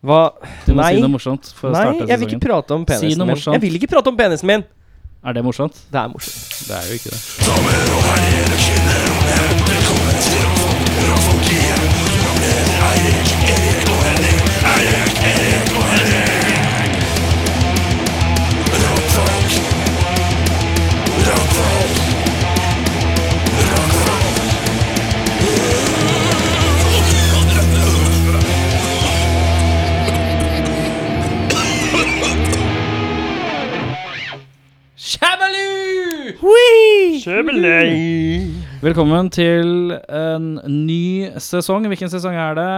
Hva Du må Nei. si noe morsomt for å Nei, starte jeg vil sesongen. ikke prate om penisen noe min. morsomt. Jeg vil ikke prate om penisen min! Er det morsomt? Det er morsomt. Det er jo ikke det. Velkommen til en ny sesong. Hvilken sesong er det,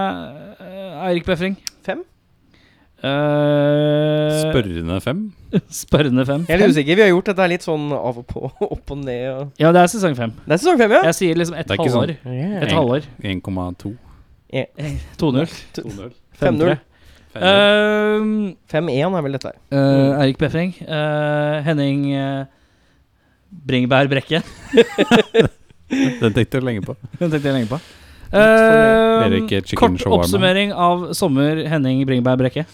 eh, Eirik Befring? Fem? Eh, Spørrende fem? Spørrende fem. Jeg er litt usikker. Vi har gjort dette litt sånn av og på, opp og ned og Ja, det er sesong fem. Det er sesong fem, ja! Jeg sier liksom et Det er ikke sånn. halvår. Et Nei. halvår. 1,2. 2-0. 5-0. 5-0. 5-1 er vel dette her. Ehm, Eirik Befring. eh, Henning eh, Bringebær Brekke. Den tenkte jeg lenge på. Den tenkte jeg lenge på. fornøyd. Eh, Erik Chicken kort Shawarma. oppsummering av sommer Henning Bringebær Brekke.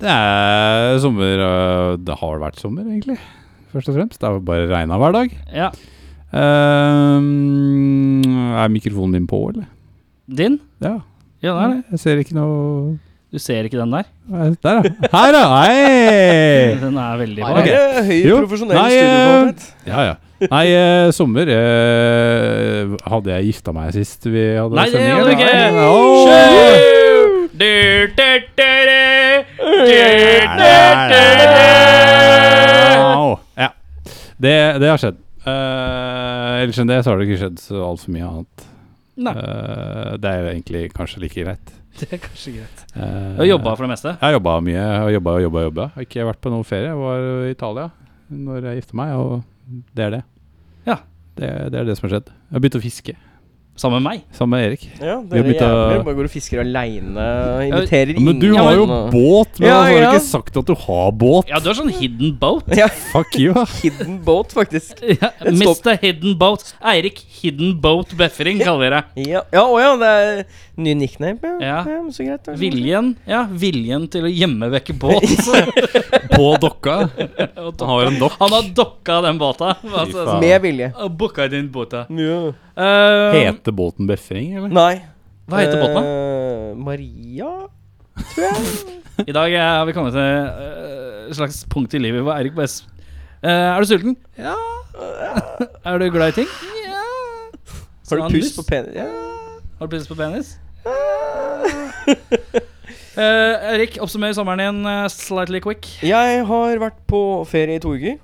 Det er sommer øh, Det har vært sommer, egentlig. Først og fremst. Det har bare regna hver dag. Ja. Ehm, er mikrofonen din på, eller? Din? Ja. Ja, den er det. Jeg ser ikke noe Du ser ikke den der? Nei, Der, ja. Her, ja! Hei! Den er veldig Her bra. er det høy Jo. profesjonell Nei, studiokvalitet. Ja, ja. Nei, eh, sommer eh, Hadde jeg gifta meg sist vi hadde Nei, det sending, hadde du eller? ikke. Nei. Åh! eh. Au. Ja. Det, det har skjedd. Eh, ellers enn det så har det ikke skjedd så altfor mye annet. Nei, Eh, det er jo egentlig kanskje like greit. det er kanskje greit. Uh, Du har jobba for det meste? Jeg har jobba mye. og jobba og jobba og jobba. Har ikke vært på noen ferie. Jeg var i Italia når jeg gifta meg, og det er det. Ja. Det, det er det som har skjedd. Jeg har begynt å fiske Sammen med meg? sammen med Erik. Ja, Vi har dere bytta- jævler bare går og fisker aleine. Inviterer ingen. Men du har jo båt, men Ja, altså, har ja. du ikke sagt at du har båt? Ja, du har sånn hidden boat. ja, Fuck you, da. Hidden boat, faktisk. Ja, Stopp. Mr. Hidden Boat. Eirik Hidden Boat Befring kaller vi deg. Ja, ja, å ja, det er ny nickname. Ja, Ja. ja. men så greit. da. Viljen ja, viljen til å gjemme vekk båt. På dokka. Og Han har en dokk. Han har dokka den båta. Altså, faen. Med vilje. så- og Booka din båta. Ja. Eh, Heter båten Befring, eller? Nei. hva heter båten, da? da? Maria, tror jeg. I dag eh, har vi kommet til eh, et slags punkt i livet hvor Eirik bare s- Eh, Er du sulten? Ja. er du glad i ting? Ja. Har du pust på penis? penis? Ja. Har du pust på penis? Eh, Eirik, oppsummer sommeren din eh, slightly quick. Jeg har vært på ferie i to uker.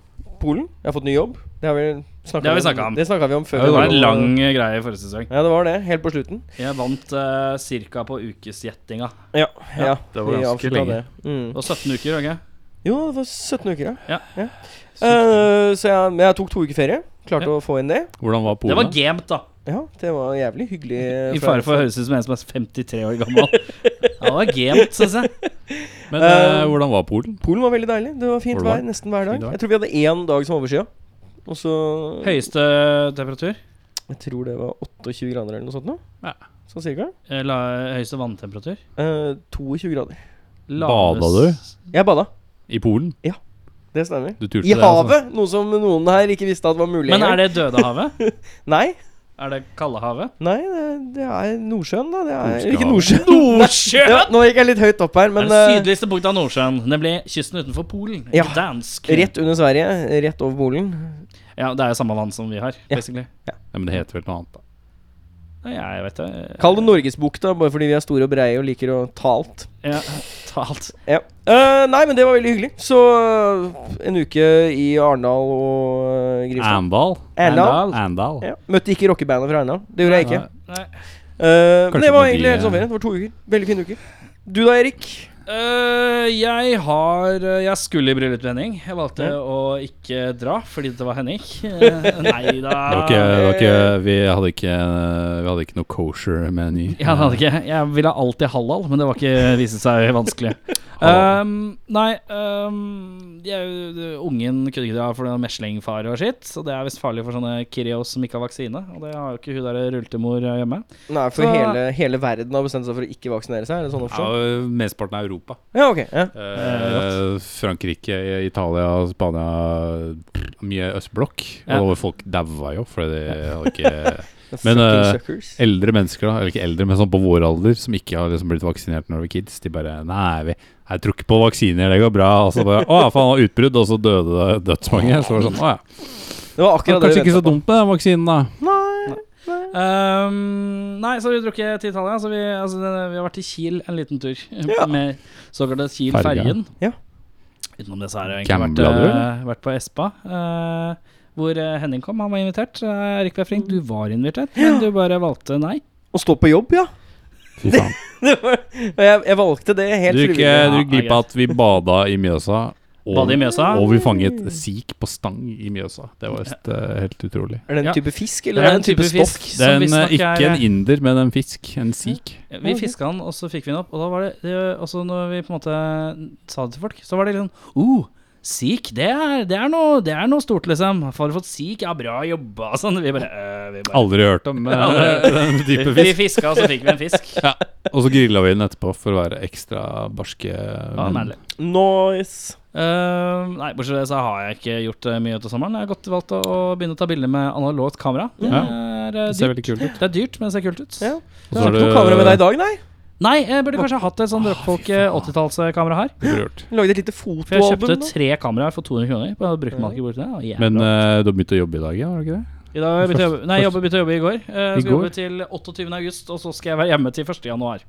Polen. Jeg har fått ny jobb. Det har vi snakket Det har vi snakket om. Det snakket vi om før. Det vi var en på- lang eh, greie i forrige sesong. Ja, det var det. Helt på slutten. Jeg vant uh, ca. på ukesgjettinga. Ja. ja, det var vi ganske avslutta lenge. det. Mm. Det var 17 uker, ikke Jo, det var 17 uker, ja. Ja. Eh, så jeg, men jeg tok to uker ferie. Klarte Ja. å få inn det. Hvordan var Det Polen? var da? gamet, da. Ja, det var jævlig hyggelig. eh, I fra- fare for å høres ut som en som er 53 år gammel. Ja, det var gamet, syns jeg. Men eh, hvordan var Polen? Polen var veldig deilig. Det var fint Var det vær varmt? nesten hver dag. Fint vær. Jeg tror vi hadde én dag som overskya. Og så Høyeste temperatur? Jeg tror det var 28 grader eller noe sånt noe. Ja. Sånn cirka. Eh, La, høyeste vanntemperatur? Eh, 22 grader. Laves- Bada du? Jeg bada. I Polen? Det stemmer. Du turte I det? altså. havet! Noe som noen her ikke visste at var mulig. Men er det Dødehavet? Nei, Er det Kaldehavet? nei det, det er Nordsjøen, da. Det er ikke Nordsjøhavet. Nordsjøen. Nordsjøen! Ja, nå gikk jeg litt høyt opp her, Oh, men det er det eh, sydligste punktet av Nordsjøen, nemlig kysten utenfor Polen. Ja. Dansk. rett under Sverige, rett over Polen. Ja, det er jo samme vann som vi har, Ja. basically. Nei, men det heter vel noe annet, da. Nei, jeg vet det. Kall det Norgesbukta, bare fordi vi er store og breie og liker å ta alt. Ja, talt. Ja. Eh, nei, men det var veldig hyggelig. Så eh, en uke i Arendal og eh, Grimstad. Andal? Arendal. Andal. Ja. Møtte ikke rockebandet fra Arendal. Det gjorde jeg ikke. Nei. Eh, men Kanskje det var fordi, egentlig sånn hele eh, sommerferien. Det var to uker. Veldig fine uker. Du da, Erik? Eh, Eh, jeg har eh, Jeg skulle i bryllup til Henning. Jeg valgte å ikke dra fordi det var Henning. Uh, nei da. Det var ikke, det var ikke, vi, hadde ikke, eh, vi hadde ikke noe kosher-meny. Ja, det hadde ikke. Jeg ville alltid halal, men det var ikke viste seg vanskelig. Halal. Um, nei, um, jeg, ungen kunne ikke dra for det var meslingfare og skitt, så det er visst farlig for sånne kirios som ikke har vaksine. Og det har jo ikke hun der rulletemor hjemme. Nei, for Så- hele, hele verden har bestemt seg for å ikke vaksinere seg? Er det sånn Ja, offshore? og Mesteparten av Europa. Ja, ok. Ja. Eh, Frankrike, Italia, Spania pff, Mye østblokk. Ja. Og folk daua jo fordi de hadde ikke The Men, fucking eh, suckers. Eldre mennesker, da, eller ikke eldre, men sånn på vår alder, som ikke har liksom blitt vaksinert når de var kids, de bare Nei, vi, jeg tror ikke på vaksiner, det går bra. Og så bare Å ja, faen, det var utbrudd, og så døde det dødsmange. Så var det sånn, å ja. Det var Det akkurat det var vi kanskje ikke ventet så dumt med den vaksinen, da. Um, nei, så har vi drukket til Italia. Så vi, altså, det, vi har vært til Kiel en liten tur. Ja. Med såkalt Kiel-fergen. Ja. Utenom det så har jeg egentlig Gambla vært, du, eh, vært på Espa. eh, hvor eh, Henning kom, han var invitert. Eh, Erik Befring, du var invitert, men du bare valgte nei. Å stå på jobb, ja. Fy faen. Det var, jeg, jeg valgte det helt Du gikk frivillig. eh, du Ja, gikk glipp av at vi bada i Mjøsa. Badet i Mjøsa. og vi fanget sik på stang i Mjøsa. Det var just, eh, helt utrolig. Er det en Ja. type fisk, eller er det en type, stoff? fisk Det er som en, visstnok eh, ikke er- en inder, men en fisk. En sik. Vi fiska den, og så fikk vi den opp. Og da var det, det og så når vi på en måte sa det til folk, så var det litt sånn oh, Sik, det er, det, er noe, det er noe stort, liksom. Har du fått sik? Ja, bra jobba. Sånn. Vi bare, eh, vi bare Aldri hørt om eh, den type Vi fisk. fiska, og så fikk vi en fisk. Og så grilla vi den etterpå for å være ekstra barske. Ja, men- nærlig. Nice. Eh, nei, bortsett fra det så har jeg ikke gjort eh, mye til sommeren. Jeg har godt valgt å, å begynne å ta bilder med analogt kamera. Det Ja. er, eh, det ser dyrt. veldig kult ut. det er dyrt, men det ser kult ut. Ja. Og Du så har har ikke noe kamera med deg i dag, nei? Nei, jeg burde kanskje hatt et sånn Rockfolk 80-tallskamera her. Det burde du gjort. Du lagde et lite For jeg fotoalbum. kjøpte da. tre kameraer for 200 kroner. På bruktmarkedet. Men eh, du har begynt å jobbe i dag, ja? Har du ikke det? I dag begynte jeg å jobbe- Nei, jeg jobba- begynte å jobbe i går. Eh, I skal jobbe går? til 28. august, og så skal jeg være hjemme til 1. januar.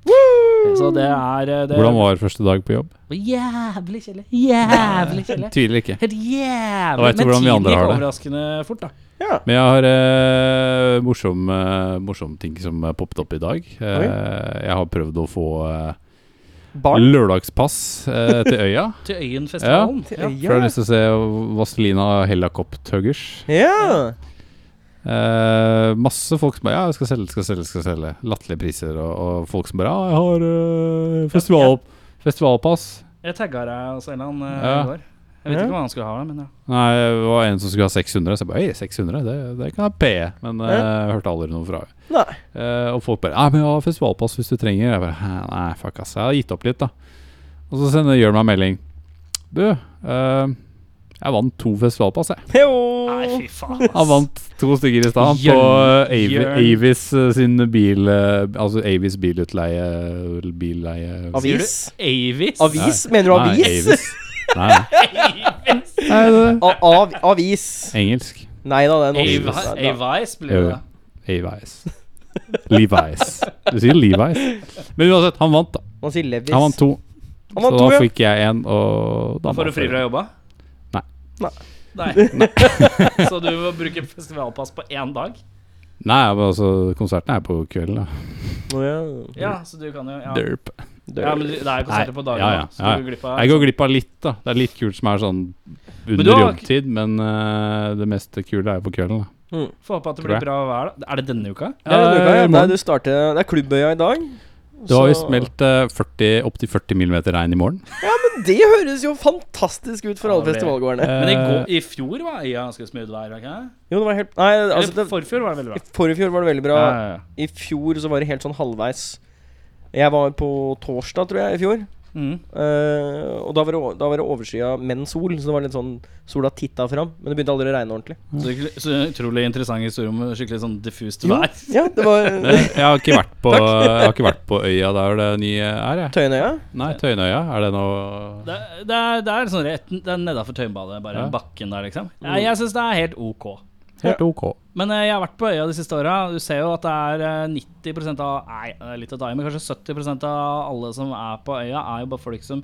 Så det er eh, det Hvordan var første dag på jobb? var Jævlig kjedelig. Jævlig kjedelig. Tviler ikke. Helt Da jævlig. vet du hvordan vi andre har det. overraskende fort, da. Ja. Men jeg har eh, morsom, eh, morsom ting som eh, poppet opp i dag. Eh, jeg har prøvd å få eh, Barn lørdagspass eh, til øya. Til Øyenfestivalen. til Ja. øya. For jeg har lyst til å se Vazelina Helicopthuggers. Ja. Eh, masse folk som bare Ja, jeg skal selge, skal selge, skal selge. Latterlige priser. Og, og folk som bare Ja, jeg har eh, festival, festivalpass. Jeg tagga deg også en eller annen eh, Ja. i går. Jeg vet Ja. ikke hva han skulle ha, men ja. Nei, det var en som skulle ha 600. Så jeg bare Oi, 600? Det, det kan jeg pe. Men eh, jeg hørte aldri noe fra henne. Nei. Eh, og folk bare 'Nei, men jeg har festivalpass hvis du trenger.' Jeg bare «Hæ, Nei, fuck ass. Jeg har gitt opp litt, da. Og så sender Jørn meg en melding. 'Du, eh, jeg vant to festivalpass, jeg.' Nei, Jo. fy faen. ass. Han vant to stykker i stad på Jørn- eh, Avi- Jørn. Avis eh, sin bil eh, Altså Avis bilutleie Billeie Avis. Avis. Avis? Mener du avis? Nei, Avis. Nei, nei, det- A- Av, avis. engelsk. Nei da, det er Avis. norsk. Nei, da. Avis blir det. Avis. Eh, Levi's. Du sier Levi's. Men uansett, han vant, da. Man sier Levis. Han vant to. Han vant så da to, ja. fikk jeg en, og da Får du fri fra jobba? Nei. Nei. Nei. Så du må bruke festivalpass på én dag? Nei, men altså, konserten er på kvelden, da. Å, ja. Ja, så du kan jo Ja, Derp. Dør. ja men det er jo konserter Nei, på dagen, ja, ja, da, så ja, du går glipp av Jeg går glipp av litt, da. Det er litt kult som er sånn du under har- jobbtid, men eh, det mest kule er jo på kvelden, da. Får håpe at det Tror blir jeg. bra vær, da. Er det denne uka? Det er, denne uka, Eh, ja. i Nei, morgen. du starter, det er klubbøya i dag. det har Så- visst meldt eh, 40, opptil 40 millimeter regn i morgen. Det høres jo fantastisk ut for alle Ja, det- festivalgårdene. Men i, går, Eh, i fjor var øya ganske smooth vær? var det Ikke? Jo, det var helt Nei, altså Eller det, forfjor var det veldig I bra. forfjor var det veldig bra. Ja, ja, ja. I fjor så var det helt sånn halvveis. Jeg var på torsdag, tror jeg, i fjor. Mm. Eh, og da var det, o- da var det overskya, men sol. Så det var litt sånn sola titta fram. Men det begynte aldri å regne ordentlig. Så, det- så utrolig interessant historie om skikkelig sånn diffust vær. Ja, det var men Eh, jeg har ikke vært på, jeg har ikke vært på øya der det nye er, jeg. Tøyenøya. Nei, Tøyenøya. Er det noe Det, det, er, det er sånn rett Det er nedafor Tøyenbadet, bare Ja. Mm. bakken der, liksom. Nei, Jeg syns det er helt ok. Helt ok. Men eh, jeg har vært på øya de siste åra. Du ser jo at det er eh, 90 av Nei, det er litt å ta i, men kanskje 70 av alle som er på øya, er jo bare folk som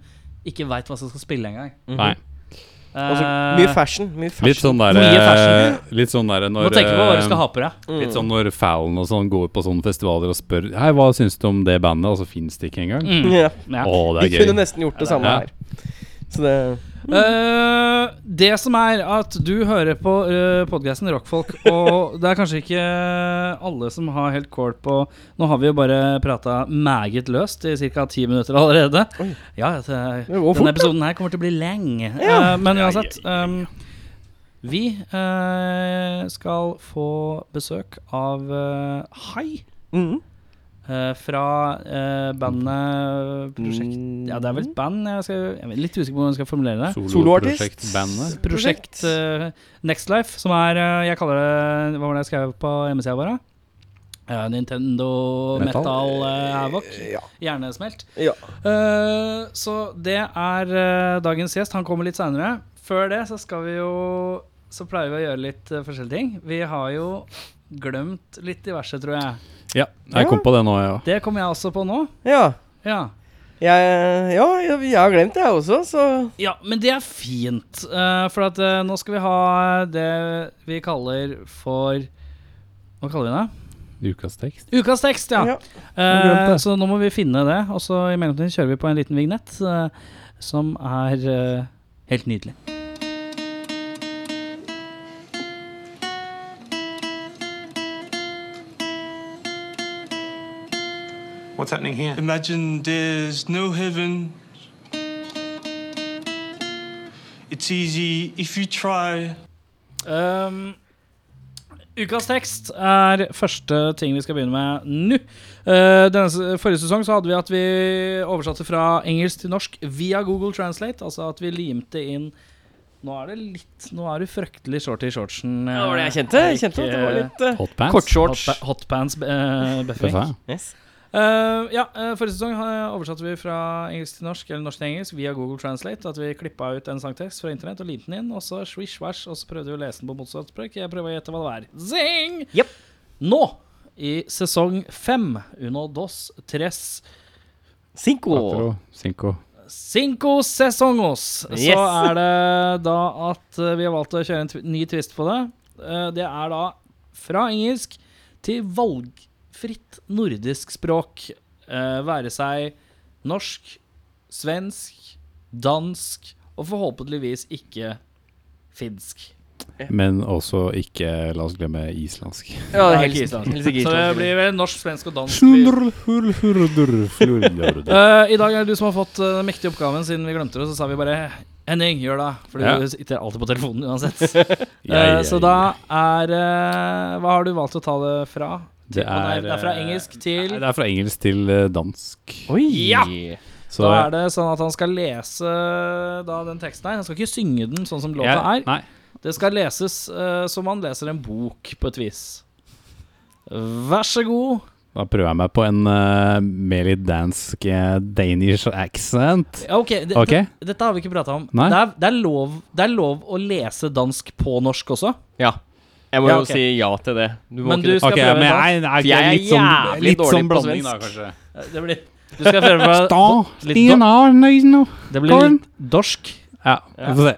ikke veit hva som skal spille engang. Nei. Eh, Altså, mye fashion. Mye fashion. Litt sånn der, Mye fashion. eh, litt sånn der Må når tenke på hva du eh, skal ha på deg. Mm. Litt sånn når Fallon og sånn går på sånne festivaler og spør Hei, hva syns du om det bandet? Og så fins det ikke engang. Mm. Ja. Ja. Å, det Vi er kunne gøy. nesten gjort det samme Ja. her. Så det Eh, det som er at du hører på uh, podkasten Rockfolk, og det er kanskje ikke alle som har helt kål på Nå har vi jo bare prata meget løst i ca. ti minutter allerede. Oi. Ja, det, Det går fort, denne episoden her kommer til å bli lang. Ja. Eh, men uansett ehm, Vi eh, skal få besøk av eh, Hai mm. eh, fra eh, bandet Mm. Prosjekt Ja, det er vel et band? Jeg, skal, jeg er litt usikker på hvordan jeg skal formulere det. Soloartist? Soloprosjektbandet. Prosjekt eh, Next Life, som er eh, Jeg kaller det Hva var det jeg skrev på hjemmesida vår? Eh, Nintendo Metal. Metal, eh, Havoc. Ja. Hjernesmelt. ja. Eh, så det er eh, dagens gjest. Han kommer litt seinere. Før det så skal vi jo Så pleier vi å gjøre litt eh, forskjellige ting. Vi har jo glemt litt diverse, tror jeg. Ja, jeg kom på det nå, jeg ja. Det kommer jeg også på nå. ja. Ja. Jeg, ja, jeg, jeg har glemt det, jeg også, så Ja, men det er fint. eh, for at eh, nå skal vi ha det vi kaller for Hva kaller vi det? òg. Ukas tekst. Ukas tekst, ja. ja. Eh, jeg glemte. så nå må vi finne det. Og så i mellomtiden kjører vi på en liten vignett eh, som er eh, helt nydelig. What's happening here? Imagine there's no heaven. It's easy if you try. Um, ukas tekst er første ting vi skal begynne med nå. Eh, denne, s- forrige sesong så hadde vi at vi oversatte fra engelsk til norsk via Google Translate. Altså at vi limte inn Nå er det litt Nå er du fryktelig short i shortsen. eh, Det var det jeg kjente. Jeg Erik, kjente at det var eh, litt eh, Hotpants. kortshorts. hotpa- Hotpants eh, Det bøffing. sa jeg. Yes. Eh, ja, eh, Forrige sesong eh, oversatte vi fra engelsk til norsk eller norsk til engelsk via Google Translate. At vi klippa ut en sangtekst fra internett og limte den inn. Og så swish, swash, og så prøvde vi å lese den på motsatt språk. Jeg prøver å gjette hva det er. Zing! Jep. Nå, i sesong fem, Uno dos tres Cinco. Quattro, cinco. cinco sesongos, Yes. så er det da at eh, vi har valgt å kjøre en tw ny twist på det. Eh, det er da fra engelsk til valgfritt nordisk språk. Eh, være seg norsk, svensk, dansk og forhåpentligvis ikke finsk. Men også ikke, la oss glemme, islandsk. Ja, Det er helst, ikke islandsk. helst ikke Så islandsk. det blir vel norsk, svensk og dansk. Hva Eh, I dag er det du som har fått eh, den mektige oppgaven, siden vi glemte det. Så sa vi bare Henning, gjør det. For Ja. du sitter alltid på telefonen uansett. Eh, så da er eh, Hva har du valgt å ta det fra? Det Å, nei, er, eh, det er fra engelsk til Nei, det er fra engelsk til eh, dansk. Oi! Ja! Så Da er det sånn at han skal lese eh, da, den teksten her. Han skal ikke synge den sånn som låta jeg- er. Nei, Det skal leses eh, som han leser en bok, på et vis. Vær så god. da prøver jeg meg på en eh, mer litt dansk eh, Danish accent. Ja, Ok, det, Ok. det- Dette har vi ikke prata om. Nei. Det er, det, er lov, det er lov å lese dansk på norsk også. Ja. Jeg må Ja, jo ok. si ja til det. Du må Men ikke du skal Ok, prøve men da. jeg, jeg, For jeg er litt sånn, jævlig litt dårlig sånn på blanding da, svensk. kanskje. Det blir Du skal prøve på- litt do- Det blir Karen. litt dorsk. Ja, vi får se.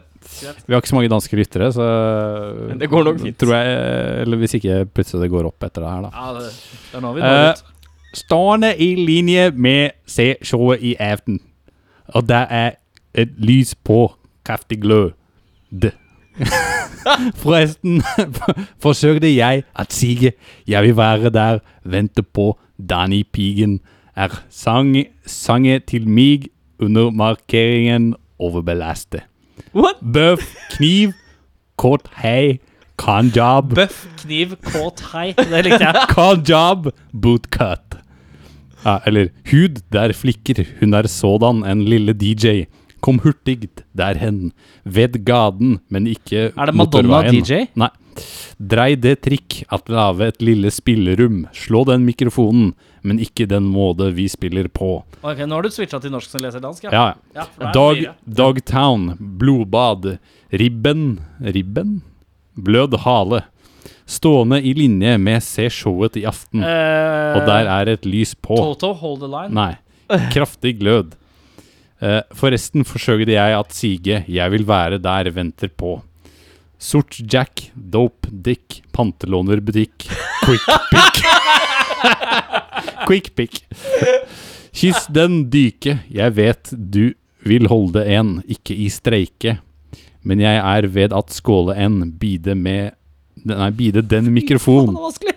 Vi har ikke så mange danske lyttere, så Men det går nok fint. Tror jeg, eller hvis ikke plutselig det går opp etter det her, da. Ja, det, det er nå vi Eh, når ut. Stående i linje med C-showet i aften. Og det er et lys på kraftig glød. D. Forresten forsøkte jeg at sige jeg vil være der, vente på Danny Pigen er sang, sange til mig under markeringen overbelaste. What? Bøff, kniv, kort hei, kanjab. Bøff, kniv, kåt, hei. Det likte jeg. Kanjab bootcut. Ja, eller hud der flikker, hun er sådan en lille DJ. Kom hurtigt derhen, ved gaden, men ikke Er det Madonna motorveien. DJ? Nei. Drei det trikk at lave et lille spillerum. Slå den mikrofonen, men ikke den måte vi spiller på. Ok, Nå har du switcha til norsk som leser dansk, ja. Ja, Ja, for det er Dog, fire. Dogtown, blodbad, ribben Ribben? Blød hale. Stående i linje med Se showet i aften. Eh, Og der er et lys på. Toto, hold the line. Nei. Kraftig glød. Eh, forresten forsøkte jeg at Sige, jeg vil være der, venter på. Sort Jack, Dope Dick, Pantelånerbutikk, Quick Pick. quick Pick. Kyss den dyke, jeg vet du vil holde en, ikke i streike. Men jeg er ved at skåle en, bide med Nei, bide den mikrofon. Det var vanskelig.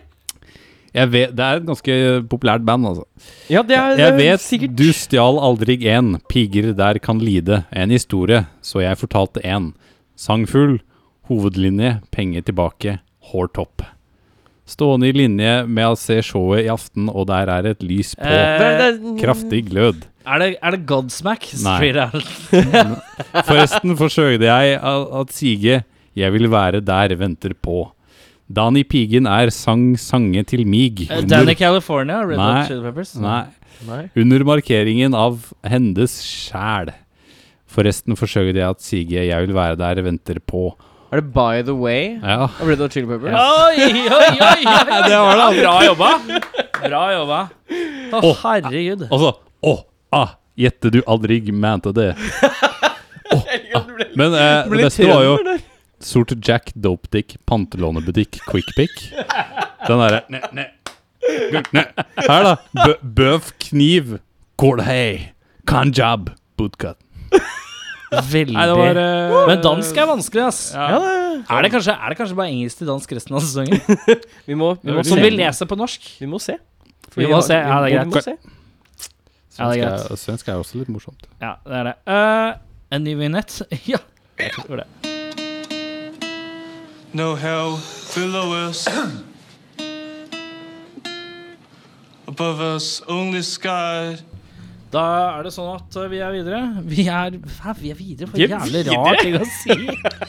Jeg vet, det er et ganske populært band, altså. Ja, det er, Jeg det er vet sikkert du stjal aldri en, piger der kan lide, en historie, så jeg fortalte en. Sangfull, hovedlinje, penger tilbake, hårtopp. Stående i linje med å se showet i aften, og der er et lys på. Eh, det er, det er, Kraftig glød. Er det, er det Godsmack? Nei. Straight out. Forresten forsøkte jeg a- at Sige, jeg vil være der, venter på. Dani Pigen er sang sange til mig. Eh, Danny California, Red Nei. Hot Chili Peppers. Nei. Nei. Under markeringen av hennes sjæl. Forresten forsøkte jeg at Sige, jeg vil være der, venter på. er det By The Way Ja, av Red Hot Chili Peppers? Oi, oi, oi! oi, oi. det var det. Bra jobba. Bra jobba. Å, herregud. Og så Altså, Å, ah, gjette du aldri mente det. Åh, ah. Men eh, det beste var jo Sort Jack, Dope Dick, Pantelånebutikk, Quick Pick. Den derre ne, ne, gu- ne. Her, da. Bø, bøv, kniv, kolhei, kanjab, bootcut. Veldig Nei, det var eh, Men dansk er vanskelig, ass. Ja, det Er, det kanskje, er det kanskje bare engelsk til dansk resten av sesongen? er- vi må, vi må Som vi se. leser på norsk? Vi må se. Vi må se, ja, det er Vi må se. Ja, det er greit. Svensk er, svensk er også litt morsomt. Ja, det er det. Eh, en ny vignett? ja. Jeg tror det. No hell below us. Above us, only sky. Da er det sånn at eh, vi er videre. Vi er Hæ, vi er videre? For Vi er jævlig videre? rar ting å si.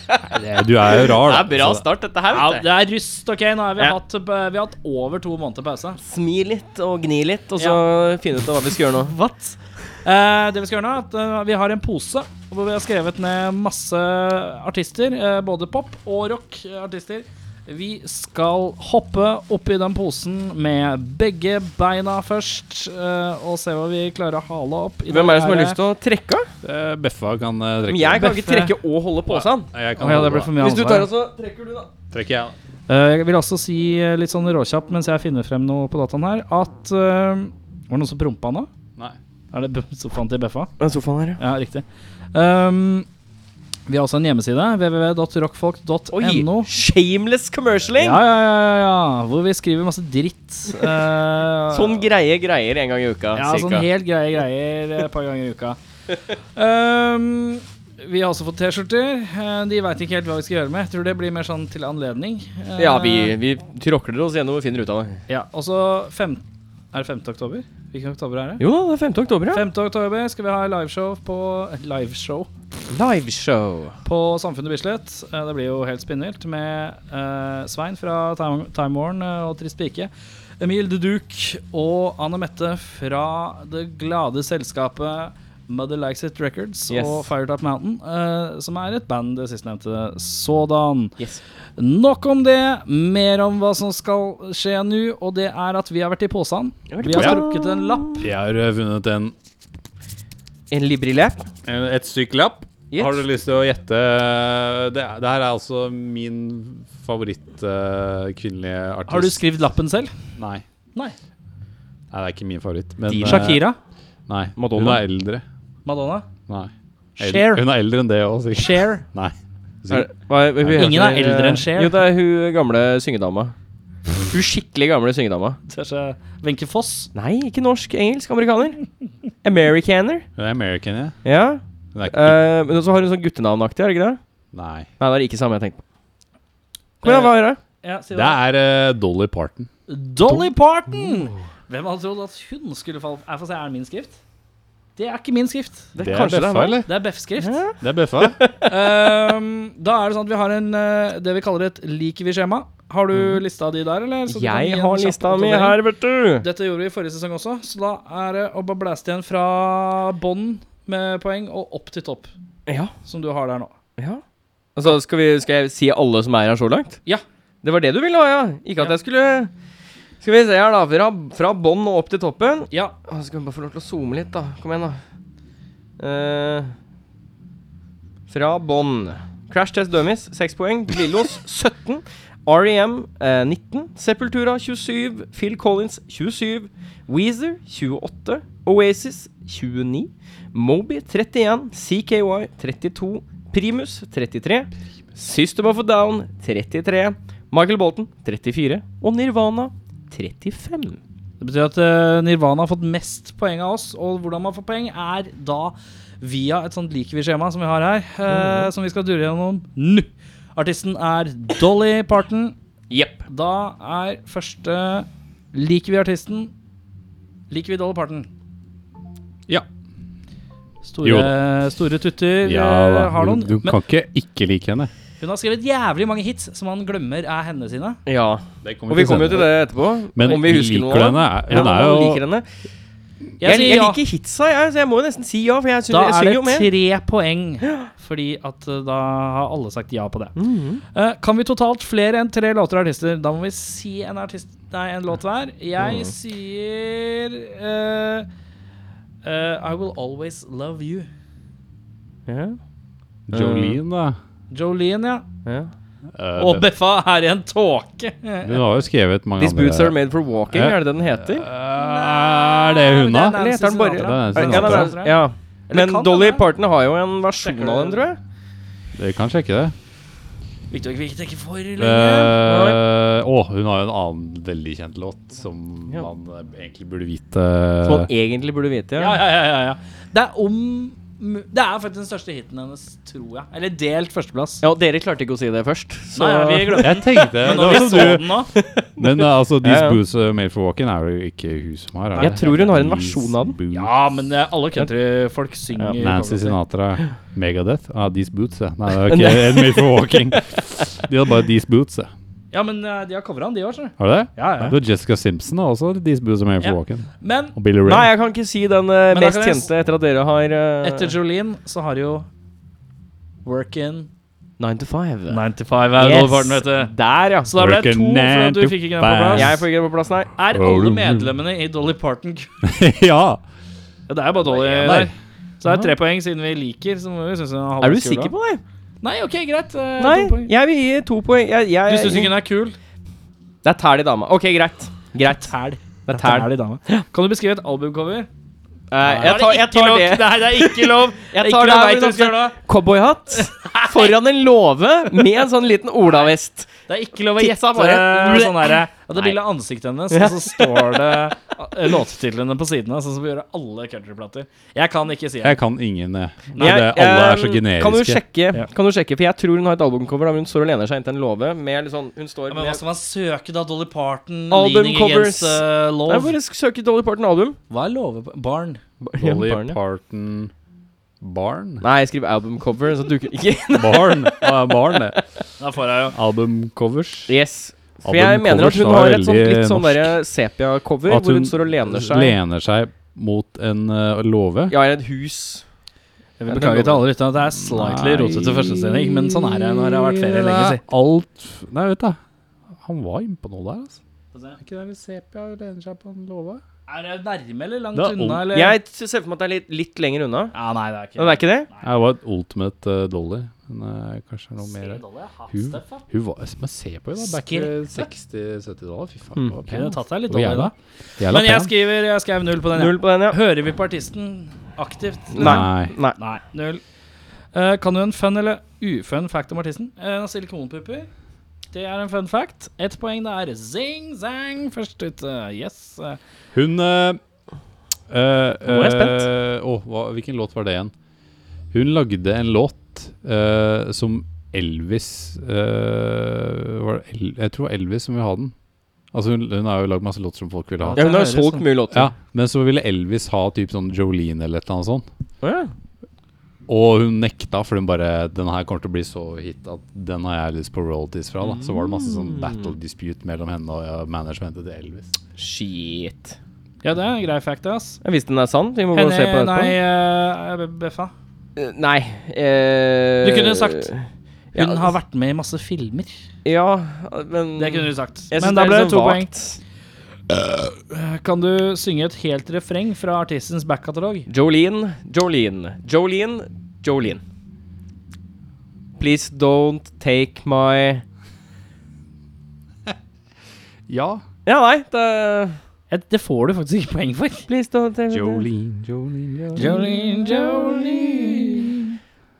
Du er jo rar. Det da. er bra Så- start, dette her. Ja, vet du. det er rust, OK? Nå har vi, Ja. hatt, eh, vi har hatt over to måneder pause. Smi litt og gni litt, og så finne ut av hva vi skal gjøre nå. What? Eh, det Vi skal gjøre nå er at eh, vi har en pose hvor vi har skrevet ned masse artister. eh, både pop og rock-artister. Vi skal hoppe oppi den posen med begge beina først. eh, og se hva vi klarer å hale opp. Hvem er det som har lyst til å trekke? Eh, Beffa kan eh, Men trekke. jeg kan ikke Beffe. trekke og holde posen. Nei, jeg kan ja, altså. holde det ble på. for mye Hvis du tar ansvar. og så trekker du, da. Trekker jeg. Eh, jeg vil også si eh, litt sånn råkjapt mens jeg finner frem noe på dataen her, at eh, Var det noen som prompa nå? Nei. Er det b- sofaen til Beffa? Den sofaen her, Ja, riktig. Ehm, vi har også en hjemmeside, Oi! www.rockfolk.no. Shameless commercialing! Ja, ja, ja, ja, ja, hvor vi skriver masse dritt. eh, Sånn greie greier en gang i uka, Ja, cirka. sånn helt greie greier eh, et par ganger i uka. Ehm, vi har også fått T-skjorter. Eh, de veit ikke helt hva vi skal gjøre med. Jeg tror det blir mer sånn til anledning. Eh, Ja, vi, vi tråkler oss gjennom og finner ut av det. Ja, og så fem... Er det 5. oktober? Hvilken oktober er det? Jo da, det er 5. oktober, 5. oktober skal vi ha liveshow på Liveshow Liveshow. på Samfunnet Bislett. Eh, Det blir jo helt spinnvilt med eh, Svein fra Time Time Warn eh, og Trist pike. Emil The Duke og Anne Mette fra det glade selskapet Mother Likes It Records Yes. og Firetop Mountain, eh, som er et band det sistnevnte sådan. Yes. Nok om det. Mer om hva som skal skje nå, og det er at vi har vært i posen. har vært i Vi har posen. strukket en lapp. Jeg har eh, vunnet en, En librilap. en et stykke lapp. Yes. Har du lyst til å gjette eh, Det, er- det her er altså min favoritt eh, kvinnelige artist. Har du skrevet lappen selv? Nei. Nei. Nei, det er ikke min favoritt. Men, eh, Shakira? Nei. Madonna? Hun er eldre. Madonna? Nei. Cher. Hun er eldre enn det òg, sikkert. Cher? Nei. Er, Sikkert. hva, hva, hva- Ingen er eldre enn Cher. Jo, det er hun gamle syngedama. Hun skikkelig gamle syngedama. Kanskje Wenche Foss? Nei, ikke norsk. Engelsk. Amerikaner. Americaner. Hun er American, ja. Ja. Hun er ikke, Eh, men så har hun sånn guttenavnaktig, er det ikke det? nei. Nei, det er ikke samme jeg tenkte på. Kom Eh, igjen, hva er det? Ja, si Det det. er eh, Dolly Parton. Dolly Parton! Oh. Hvem hadde trodd at hun skulle falle Jeg får se, er det min skrift? Det er ikke min skrift. Det, Det er kanskje det er Beffa, meg. eller? Det er Beff-skrift. Det er Beffa. Ehm, da er det sånn at vi har en, eh, det vi kaller et liker vi-skjema. Har du lista di der, eller? Så du kan gi Mm. Jeg en har kjapp lista mi oppdatering. her, vet du. Dette gjorde vi i forrige sesong også, så da er det å bare blæste igjen fra bånn med poeng og opp til topp, Ja, som du har der nå. ja. Altså, skal, vi, skal jeg si alle som er her så langt? Ja. Det var det du ville ha, ja? Ikke at Ja. jeg skulle Skal vi se her, da. Fra, fra bånn og opp til toppen. Ja. Å, skal vi bare få lov til å zoome litt, da. Kom igjen, da. Eh, fra bånn. Crash Test Dummies, 6 poeng. Lillos, 17. REM, eh, 19. Sepultura, 27. Phil Collins, 27. Weezer, 28. Oasis, 29. Moby, 31. CKY, 32. Primus, 33. System of a Down, 33. Michael Bolton, 34. Og Nirvana, 35. Det betyr at eh, Nirvana har fått mest poeng av oss, og hvordan man får poeng, er da via et sånt likevis-skjema som vi har her, eh, Mhm. som vi skal dure gjennom nå. Artisten er Dolly Parton. Jepp. Da er første Liker vi artisten? Liker vi Dolly Parton? Ja. Jo Store, store tutter eh, da, har du, noen. du Men kan ikke ikke like henne. hun har skrevet jævlig mange hits som han glemmer er henne sine. Ja. Og vi kommer jo til det etterpå. Men om vi husker liker noe av det. du henne? Ja, om man Hun er jo- liker henne. Jeg, Jeg jeg, sier ja. liker hitsa, jeg, så jeg må jo nesten si ja. For jeg, syns- Da jeg er synger jo det med. tre poeng, fordi at eh, da har alle sagt ja på det. Mhm. Eh, kan vi totalt flere enn tre låter og artister? Da må vi si en, artist, nei, en låt hver. Jeg Mhm. sier eh, eh, I Will Always Love You. Ja, Jolene, da. Jolene, ja. ja. Eh, Og det- Beffa er i en tåke. Hun har jo skrevet mange These boots are made for walking, Ja. er det det den heter? Er det hun, da? Eller heter den bare Sinatra. Ja, Er det er det- ja, det er- Sinatra. ja. Eller Men kan det Dolly være? Parton har jo en versjon av den, tror jeg. Dere kan sjekke det. Victor, vi ikke tenker for Å, lenge. Eh, hun har jo en annen veldig kjent låt som Ja. man eh, egentlig burde vite. Som man egentlig burde vite. Ja, Ja. ja, ja, ja, ja. Det er om Det er faktisk den største hiten hennes, tror jeg. Eller delt førsteplass. ja, og dere klarte ikke å si det først. Så Nei, vi glemte Jeg tenkte Men det når var vi som så du- den sånn nå Men eh, altså, These Ja, ja. Boots Are Made for Walking er jo ikke hun som har. er Jeg det? tror hun har en These versjon av den. Boots. Ja, men eh, alle countryfolk synger Ja, Nancy coveren sin. Sinatra. Megadeth. Ah, These Boots, ja. Nei, det er ikke en Made for Walking. De hadde bare These Boots. ja. Ja, men eh, de har covra den, de òg, skjønner du. Har du det? Ja, ja. Du har Jessica Simpson og også These Boots Are Made for Ja. Walking. Men Og Billy Ray. Nei, jeg kan ikke si den eh, Men da mest kan jeg s- kjente etter at dere har eh, etter Jolene så har de jo Workin Nine to Five. 95 Yes. er overfarten, vet du. Der, ja. Så da ble det to, Workin' for at du nine to fikk ikke den på plass. five. Jeg får ikke det på plass, nei. Er alle medlemmene i Dolly Parton Ja, ja. Det er jo bare Dolly Ja, der. nei. Så det er tre poeng siden vi liker. Så må vi synes hun Er du sikker på det? Nei, ok, greit. eh, to Nei, poeng. jeg vil gi to poeng. Jeg, jeg, Du syns ikke hun er kul? Det er tæl i dama. Ok, greit. Greit. Tæl. Det er tæl. i dame. Kan du beskrive et albumcover? Eh, jeg, tar, jeg tar det. Nei, det er ikke lov. Jeg Ikke tar lov, det hvor det vet du hva du skal- gjør da. Cowboyhatt foran en låve med en sånn liten olavest. Det er ikke lov å Titsa gjette bare- sånn herre. Ja, det er bilde av ansiktet hennes, og så står det eh, låttitlene på sidene. Sånn som vi gjør alle countryplater. Jeg kan ikke si det. Jeg kan ingen, jeg. Nei, det, alle er så generiske. Kan du sjekke, Ja. kan du sjekke for jeg tror hun har et albumcover der hun står og lener seg inntil en låve med litt sånn Hun står Ja, med men altså- hva skal man søke, da? Dolly Parton, Album Leaning covers. Against eh, Nei, Love? bare sk- søk i Dolly Parton album. Hva er love på Barn? Dolly Barn, ja. Parton Barn? Nei, jeg skriver albumcover, så dukker ikke Barn, ja, barn det. Da får jeg jo Albumcovers. Yes. For jeg mener at Albumcovers hun var har et sånt, veldig litt sånn norsk. derre sepia-cover, At hvor hun hun står og lener seg Lener seg mot en eh, låve. Ja, i et hus. Jeg vil beklage til alle lytterne at det er slightly Nei. rotete førstestilling, men sånn er det når det har vært ferie lenge Det er siden. Alt Nei, vet du. Han var innpå noe der, altså. Er ikke det litt sepia og lener seg på en låve? Er det nærme eller langt Det er unna? ung. Eller? Jeg t- ser for meg at det er litt, litt lenger unna. Ja, nei, det er ikke Men det er ikke det? Nei, Det var et ultimate eh, Dolly. Men eh, kanskje noe mer Dolly er hot Hun, stuff, da. hun var Men se på henne, da. Back i 60-70-tallet. Fy faen. hun var pen, Kunne altså. Hmm. tatt deg litt Hun var Dolly, da. jævla- jævla Men jeg pen. skriver Jeg skrev null på den. Null jeg. på den, ja. Hører vi på artisten aktivt? Nei. Nei. Nei. Nei, null. Eh, kan du en fun eller ufun fact om artisten? Eh, Han har silikonpupper. Det er en fun fact. Ett poeng der. Zing, zang, først ut. eh, yes. eh. Hun eh, eh, Nå er jeg spent. eh, åh, hva, hvilken låt var det igjen? Hun lagde en låt eh, som Elvis eh, var det El Jeg tror Elvis som ville ha den. Altså Hun, hun har jo lagd masse låter som folk ville ha. Ja, hun har jo Det høres solgt sånn. mye låter. Ja, Men så ville Elvis ha typ sånn Jolene eller et eller annet sånt. Å ja. Og hun nekta, for hun bare 'Den her kommer til å bli så hit at den har jeg lyst på royalties fra', da. Så var det masse Mm. sånn battle dispute mellom henne og ja, managementet til Elvis. Shit. Ja, det er en grei fact, ass. Ja, Hvis den er sann, vi må gå og Henne, se på den nei, etterpå. eh, Beffa. Eh, Nei. eh, Du kunne sagt ja, altså. Hun har vært med i masse filmer. Ja, men Det kunne du sagt. Jeg synes Men da er ble litt det to sånn poeng. Eh, vagt. Kan du synge et helt refreng fra artistens backkatalog? Jolene, Jolene, Jolene, Jolene. Please don't take my Ja. Ja, nei, det Et- Det får du faktisk ikke poeng for. Please don't take my- Jolene, Jolene, Jolene. Jolene, Jolene,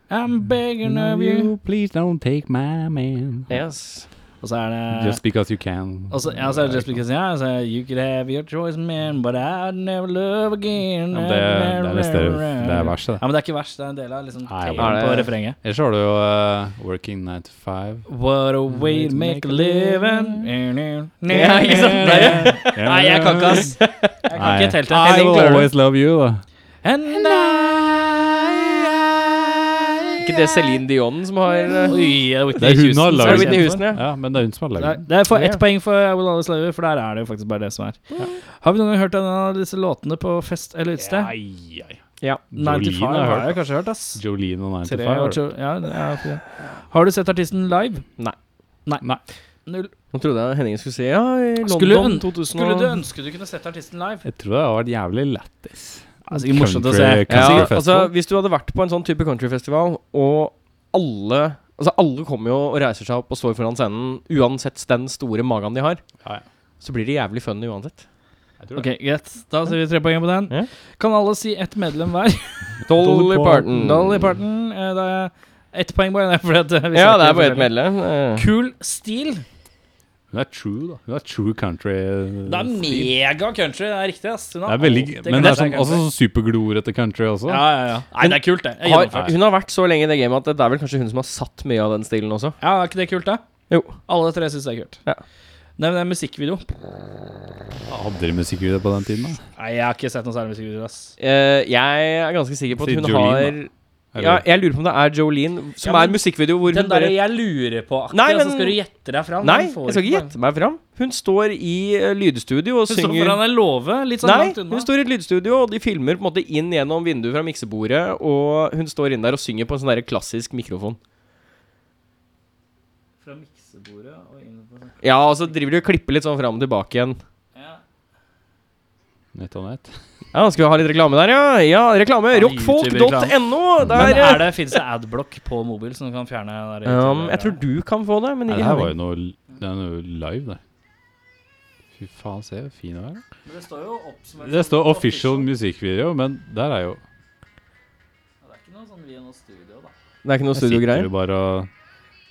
I'm begging of you. Please don't take my man. Yes. Og så er det Just because you can. Og så Altså, ja, så er det just because yeah, så er det, You could have your choice, man, but I'd never love again. Ja, men det, det er neste Det er verset, Ja, det. men det er ikke verst. Det er en del av liksom Nei, tabberen det- på refrenget. Ellers har du jo eh, Working 9 to 5. What a way to make a living. Ja, ikke sant? Nei. Nei, jeg kan ikke, ass. Jeg kan ikke telt det. I Henning will klarer det. always love you, da. And I- Ikke det Celine Dion som har eh, Oi, det er Det Whitney er hun Houston. har Så er det som laget kjent Whitney for. Houston, ja. Ja, men det er hun som har Det lagd er- Det er for ett Ja. poeng for I Will Always Love You, for der er det jo faktisk bare det som er. Har vi noen gang hørt en av disse låtene på fest eller utested? ja. Jolene 95 har jeg har hørt. jeg kanskje hørt, ass. Jolene og 9 to Tre 5. år har du. til- ja, det er fint. Har du sett artisten live? Nei. Nei. Null. Nå trodde jeg Henning skulle si ja, i London Skulle øn- 2000 Skulle du ønske du kunne sett artisten live? Jeg tror det har vært jævlig lættis. Altså, ikke morsomt å Country- se. ja, country altså, festival. Hvis du hadde vært på en sånn type countryfestival, og alle Altså alle kommer jo og reiser seg opp og står foran scenen, uansett den store magen de har, Ja, ja. så blir det jævlig fun uansett. Ok, Greit. Da sier vi tre poeng på den. Ja. Kan alle si ett medlem hver? Dolly Parton. Dolly Parton. eh, Det er ett poeng bare. Fordi at eh, vi Ja, snakker det er bare forskjellig. ett medlem. eh. Cool Steel. Hun er true, da. Hun er true country. Det er mega country. Det er riktig, ass. Hun Det har er veldig alltid Men det er country. sånn, også sånn superglorete country også. Ja, ja, ja. Nei, det er kult, det. Jeg Har, gjennomfører. hun har vært så lenge i det gamet at det er vel kanskje hun som har satt mye av den stilen også. Ja, er ikke det kult, da? Jo. Alle tre syns det er kult. Ja. Nei, men det er musikkvideo. Hadde dere musikkvideo på den tiden, da? Nei, jeg har ikke sett noe særlig musikkvideo, ass. Eh, jeg er ganske sikker på at Si hun Jolene, har Eller- ja, Jeg lurer på om det er Jolene, som Ja, er men en musikkvideo hvor Den hun derre bare jeg lurer på aktig, Nei, og så men- skal du gjette deg fram? Nei, den får jeg skal ikke poeng. gjette meg fram. Hun står i eh, lydstudio og Hun står synger foran en låve, litt sånn Nei, langt unna. hun står i et lydstudio, og de filmer på en måte inn gjennom vinduet fra miksebordet, og hun står inne der og synger på en sånn der klassisk mikrofon. Fra miksebordet og inn på sånn- Ja, og så driver de og klipper litt sånn fram og tilbake igjen. ja. Nett og nett. Ja, skal vi ha litt reklame der, ja? Ja, reklame. Ja, Rockfolk.no. Men Der er det, finnes det adblock på mobil som kan fjerne den der um, YouTube- Jeg tror du kan få det, men Nei, ikke det her var Henning. jo noe Det er noe live, det. Fy faen, se hvor fin hun er. da. Men Det står jo oppsummert Det som sånn står official musikkvideo, men der er jo Ja, Det er ikke noe sånn via noe studio, da. Det er ikke noe Jeg sitter studiogreier. jo bare og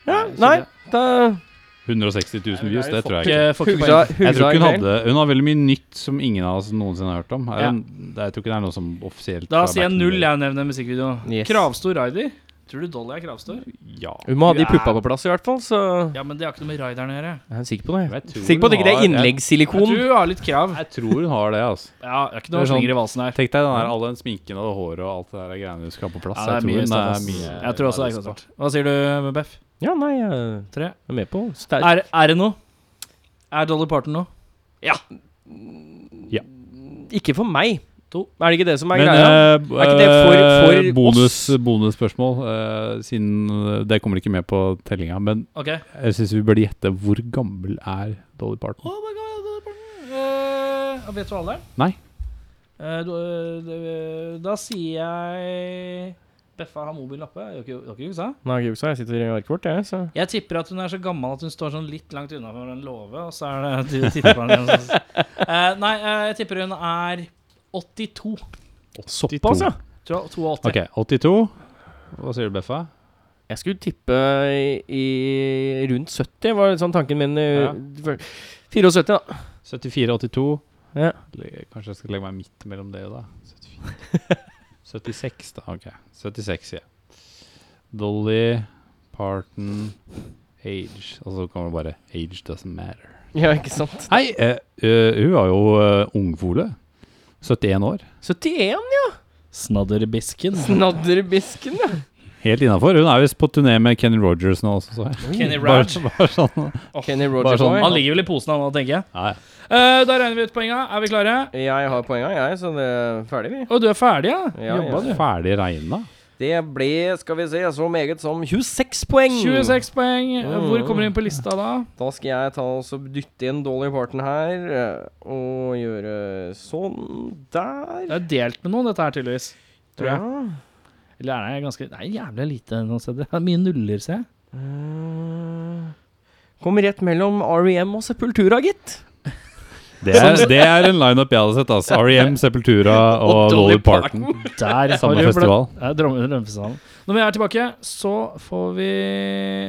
Ja, nei, da 160 000 views, det tror jeg ikke. ikke. Får ikke Hugsa poeng. Jeg tror hugsa ikke hun en del. hadde Hun har veldig mye nytt som ingen av oss noensinne har hørt om. Er Ja. hun- det- Jeg tror ikke det er noe som offisielt Da fra sier jeg back in null, the jeg nevner musikkvideo. Yes. Kravstor Raider. Tror du Dolly er kravstor? day. Ja. Hun må ha de Ja. puppa på plass, i hvert fall, så Ja, men det har ikke noe med raideren å gjøre. Jeg er sikker på det. Jeg tror Sikker på at hun ikke det har- er innleggssilikon. Du har litt krav. Jeg tror hun har det, altså. Ja, det er ikke Det noe er sånn- slinger i valsen her. Tenk deg den der, all den sminken og det håret og alt det der greiene du skal ha på Ja, plass. det er mye jeg tror stoff, ass. det er mye Jeg tror også det er kravstort. Hva sier du, Beff? Ja, nei, jeg Tre? er med på sterk Er, er det noe? Er Dolly Parton noe? Ikke for meg. To. Er det ikke det som er Men greia? eh, Er ikke det for- for eh, bonus, oss? bonusspørsmål, eh, siden eh, det kommer ikke med på tellinga. Men Ok. jeg syns vi burde gjette hvor gammel er Dolly Parton. Oh my god, Dolly Parton! Eh, vet du alderen? Nei. Eh, du- eh, da sier jeg Beffa har mobilen oppe. Dere dere juksa? Nei, jeg juksa. Jeg sitter i arket vårt, jeg, så Jeg tipper at hun er så gammel at hun står sånn litt langt unna for en låve, og så er det at du titter på henne. og så- Eh, nei, eh, jeg tipper hun er 82. Såpass, altså. ja. Tror jeg, 82. Ok, 82. Hva sier du, Beffa? Jeg skulle tippe i, i rundt 70, var sånn tanken min. Ja. Ja. 74, da. 74-82. Ja. Le- Kanskje jeg skal legge meg midt mellom det, da. 74. 76, da. Ok. 76, sier jeg. Dolly Parton age. Og så kommer det bare 'Age doesn't matter'. Ja, ikke sant. Nei, eh, eh, hun var jo eh, ungfole. 71 år. 71, ja! Snadderbisken. Snadderbisken, ja. Helt innafor. Hun er visst på turné med Kenny Rogers nå også, så jeg. Kenny Bare, Raj. bare sånn. Kenny bare Roger sånn- Han Boy. ligger vel i posen, han nå, tenker jeg. Ja, ja. Eh, da regner vi ut poenga. Er vi klare? Jeg har poenga, jeg, så det er ferdig, vi. Og du er ferdig, ja? Ja, Jobba, ja. du. Ferdig regna. Det ble, skal vi se, så meget som 26 poeng. 26 poeng. Hvor kommer du inn på lista da? Da skal jeg ta og så dytte inn Dolly Parton her, eh, og gjøre sånn der. Det er delt med noen, dette her, tydeligvis. Tror jeg. Ja. Eller er det ganske Det er jævlig lite noen steder. Det er mye nuller, ser jeg. Mm. Kommer rett mellom R.E.M. og Sepultura, gitt. Det er, det er en lineup jeg hadde sett. Altså. R.E.M., Sepultura og, Og Dolly Dolly Parton. Der Samme har du festival. blø- Ja, Drømme- Drømmefestivalen. Når vi er tilbake, så får vi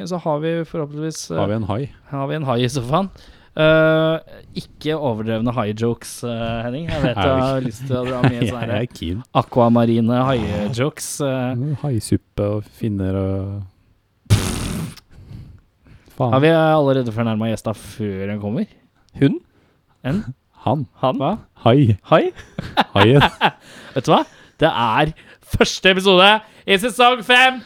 Så har vi forhåpentligvis eh, Har vi en hai? har vi en hai i sofaen. Eh, ikke overdrevne hai-jokes, eh, Henning. Jeg vet du Er det har lyst til å dra med sånn Jeg sånne er keen. akvamarine hai-jokes. eh. Haisuppe og finner og Har Faen. vi allerede fornærma gjesta før hun kommer? Hun? En? Han. Han? Hva? Hai. Hai? Haien. Vet du hva? Det er første episode i sesong fem!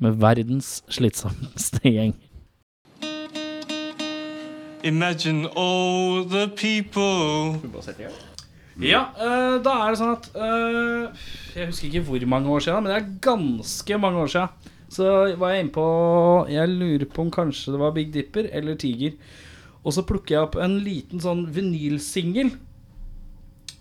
Med verdens slitsomste gjeng. Imagine all the people. Ja, eh, da er det sånn at eh, Jeg husker ikke hvor mange år siden, men det er ganske mange år siden. Så var jeg inne på Jeg lurer på om kanskje det var Big Dipper eller Tiger. Og så plukker jeg opp en liten sånn vinylsingel.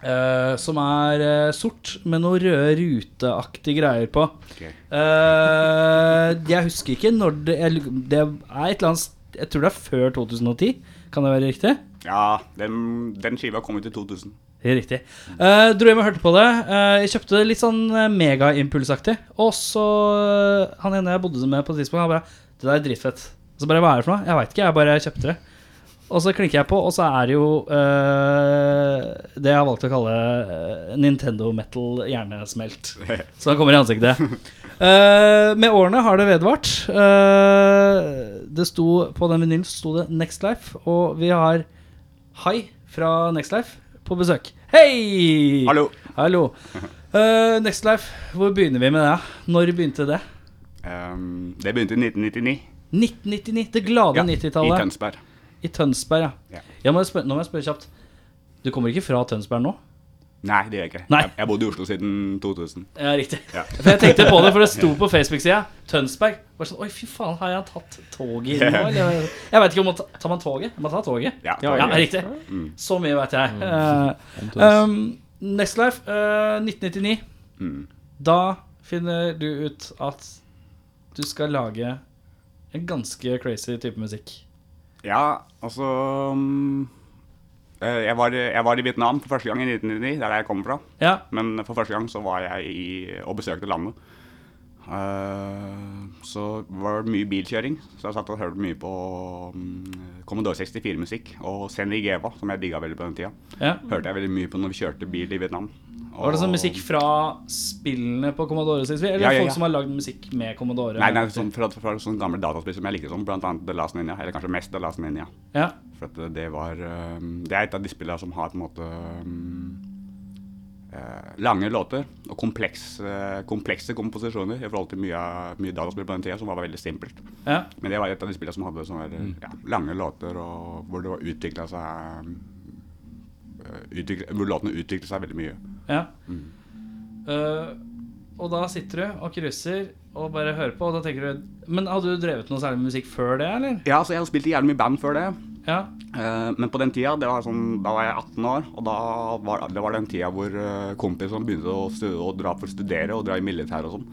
eh, som er eh, sort med noe røde ruteaktige greier på. Eh, jeg husker ikke når det jeg, Det er et eller annet st- Jeg tror det er før 2010. Kan det være riktig? Ja, den, den skiva kom ut i 2000. Helt Riktig. Eh, dro hjem og hørte på det. Eh, jeg kjøpte det litt sånn eh, megaimpulsaktig. Og så eh, han ene jeg bodde med på et tidspunkt, han bare 'Det der er dritfett'. Så bare 'Hva er det for noe?' Jeg veit ikke, jeg bare kjøpte det. Og så klikker jeg på, og så er det jo eh, det jeg har valgt å kalle eh, Nintendo metal hjernesmelt. Så han kommer i ansiktet. Eh, med årene har det vedvart. Eh, det sto, på den vinylen sto det Next Life, og vi har Hai fra Next Life på besøk. Hei! Hallo. Hallo. Eh, Next Life, hvor begynner vi med det? Når begynte det? Ehm, det begynte i 1999. 1999. Det glade I 90-tallet. Tønsberg. I Tønsberg, ja. Ja. Jeg må spørre, nå må jeg spørre kjapt. Du kommer ikke fra Tønsberg nå? Nei, det gjør jeg ikke. Nei. Jeg, jeg bodde i Oslo siden 2000. Ja, riktig. Ja. For jeg tenkte på det, for det sto på Facebook-sida. Tønsberg. Var sånn, Oi, fy faen, har jeg tatt toget inn nå? Eller? Jeg veit ikke om man ta, Tar man toget? Man tar toget. Ja, Mm. Ja, Ja, Mm. det var gøy. riktig. Så mye veit jeg. Eh, um, Next Life, eh, 1999. Mm. Da finner du ut at du skal lage en ganske crazy type musikk. ja altså mm, eh, jeg, var, jeg var i Vietnam for første gang i 1999, der jeg kommer fra. Ja, Men for første gang så var jeg i, og besøkte landet. Eh, så var det mye bilkjøring, så jeg satt og hørte mye på mm, Commodore 64-musikk og Senny Geva, som jeg digga veldig på den tida. ja. Hørte jeg veldig mye på når vi kjørte bil i Vietnam. Var det sånn musikk fra spillene på Commodore? Synes vi? Eller Ja, ja, ja. folk som har lagd musikk med Commodore? Nei, nei sånn, fra, fra sånne gamle dataspill som jeg liker sånn, blant annet The Last Ninja, eller kanskje mest The Last Ninja. Ja. For at det var øhm, Det er et av de spillene som har på en måte øhm, eh, lange låter og kompleks, eh, komplekse komposisjoner i forhold til mye, av- mye dataspill på den tida, som var veldig simpelt. ja. Men det var et av de spillene som hadde sånne der, Mm. ja, lange låter, og hvor det var utvikla seg eh, utviklet- Hvor låtene utviklet seg veldig mye. Ja. Mm. Eh, og da sitter du og krysser og bare hører på, og da tenker du Men hadde du drevet noe særlig med musikk før det, eller? Ja, så jeg har spilt i jævlig mye band før det. Ja. Eh, men på den tida, det var sånn, da var jeg 18 år, og da var, det var den tida hvor eh, kompisene begynte å, stu, å dra for å studere og dra i militæret og sånn.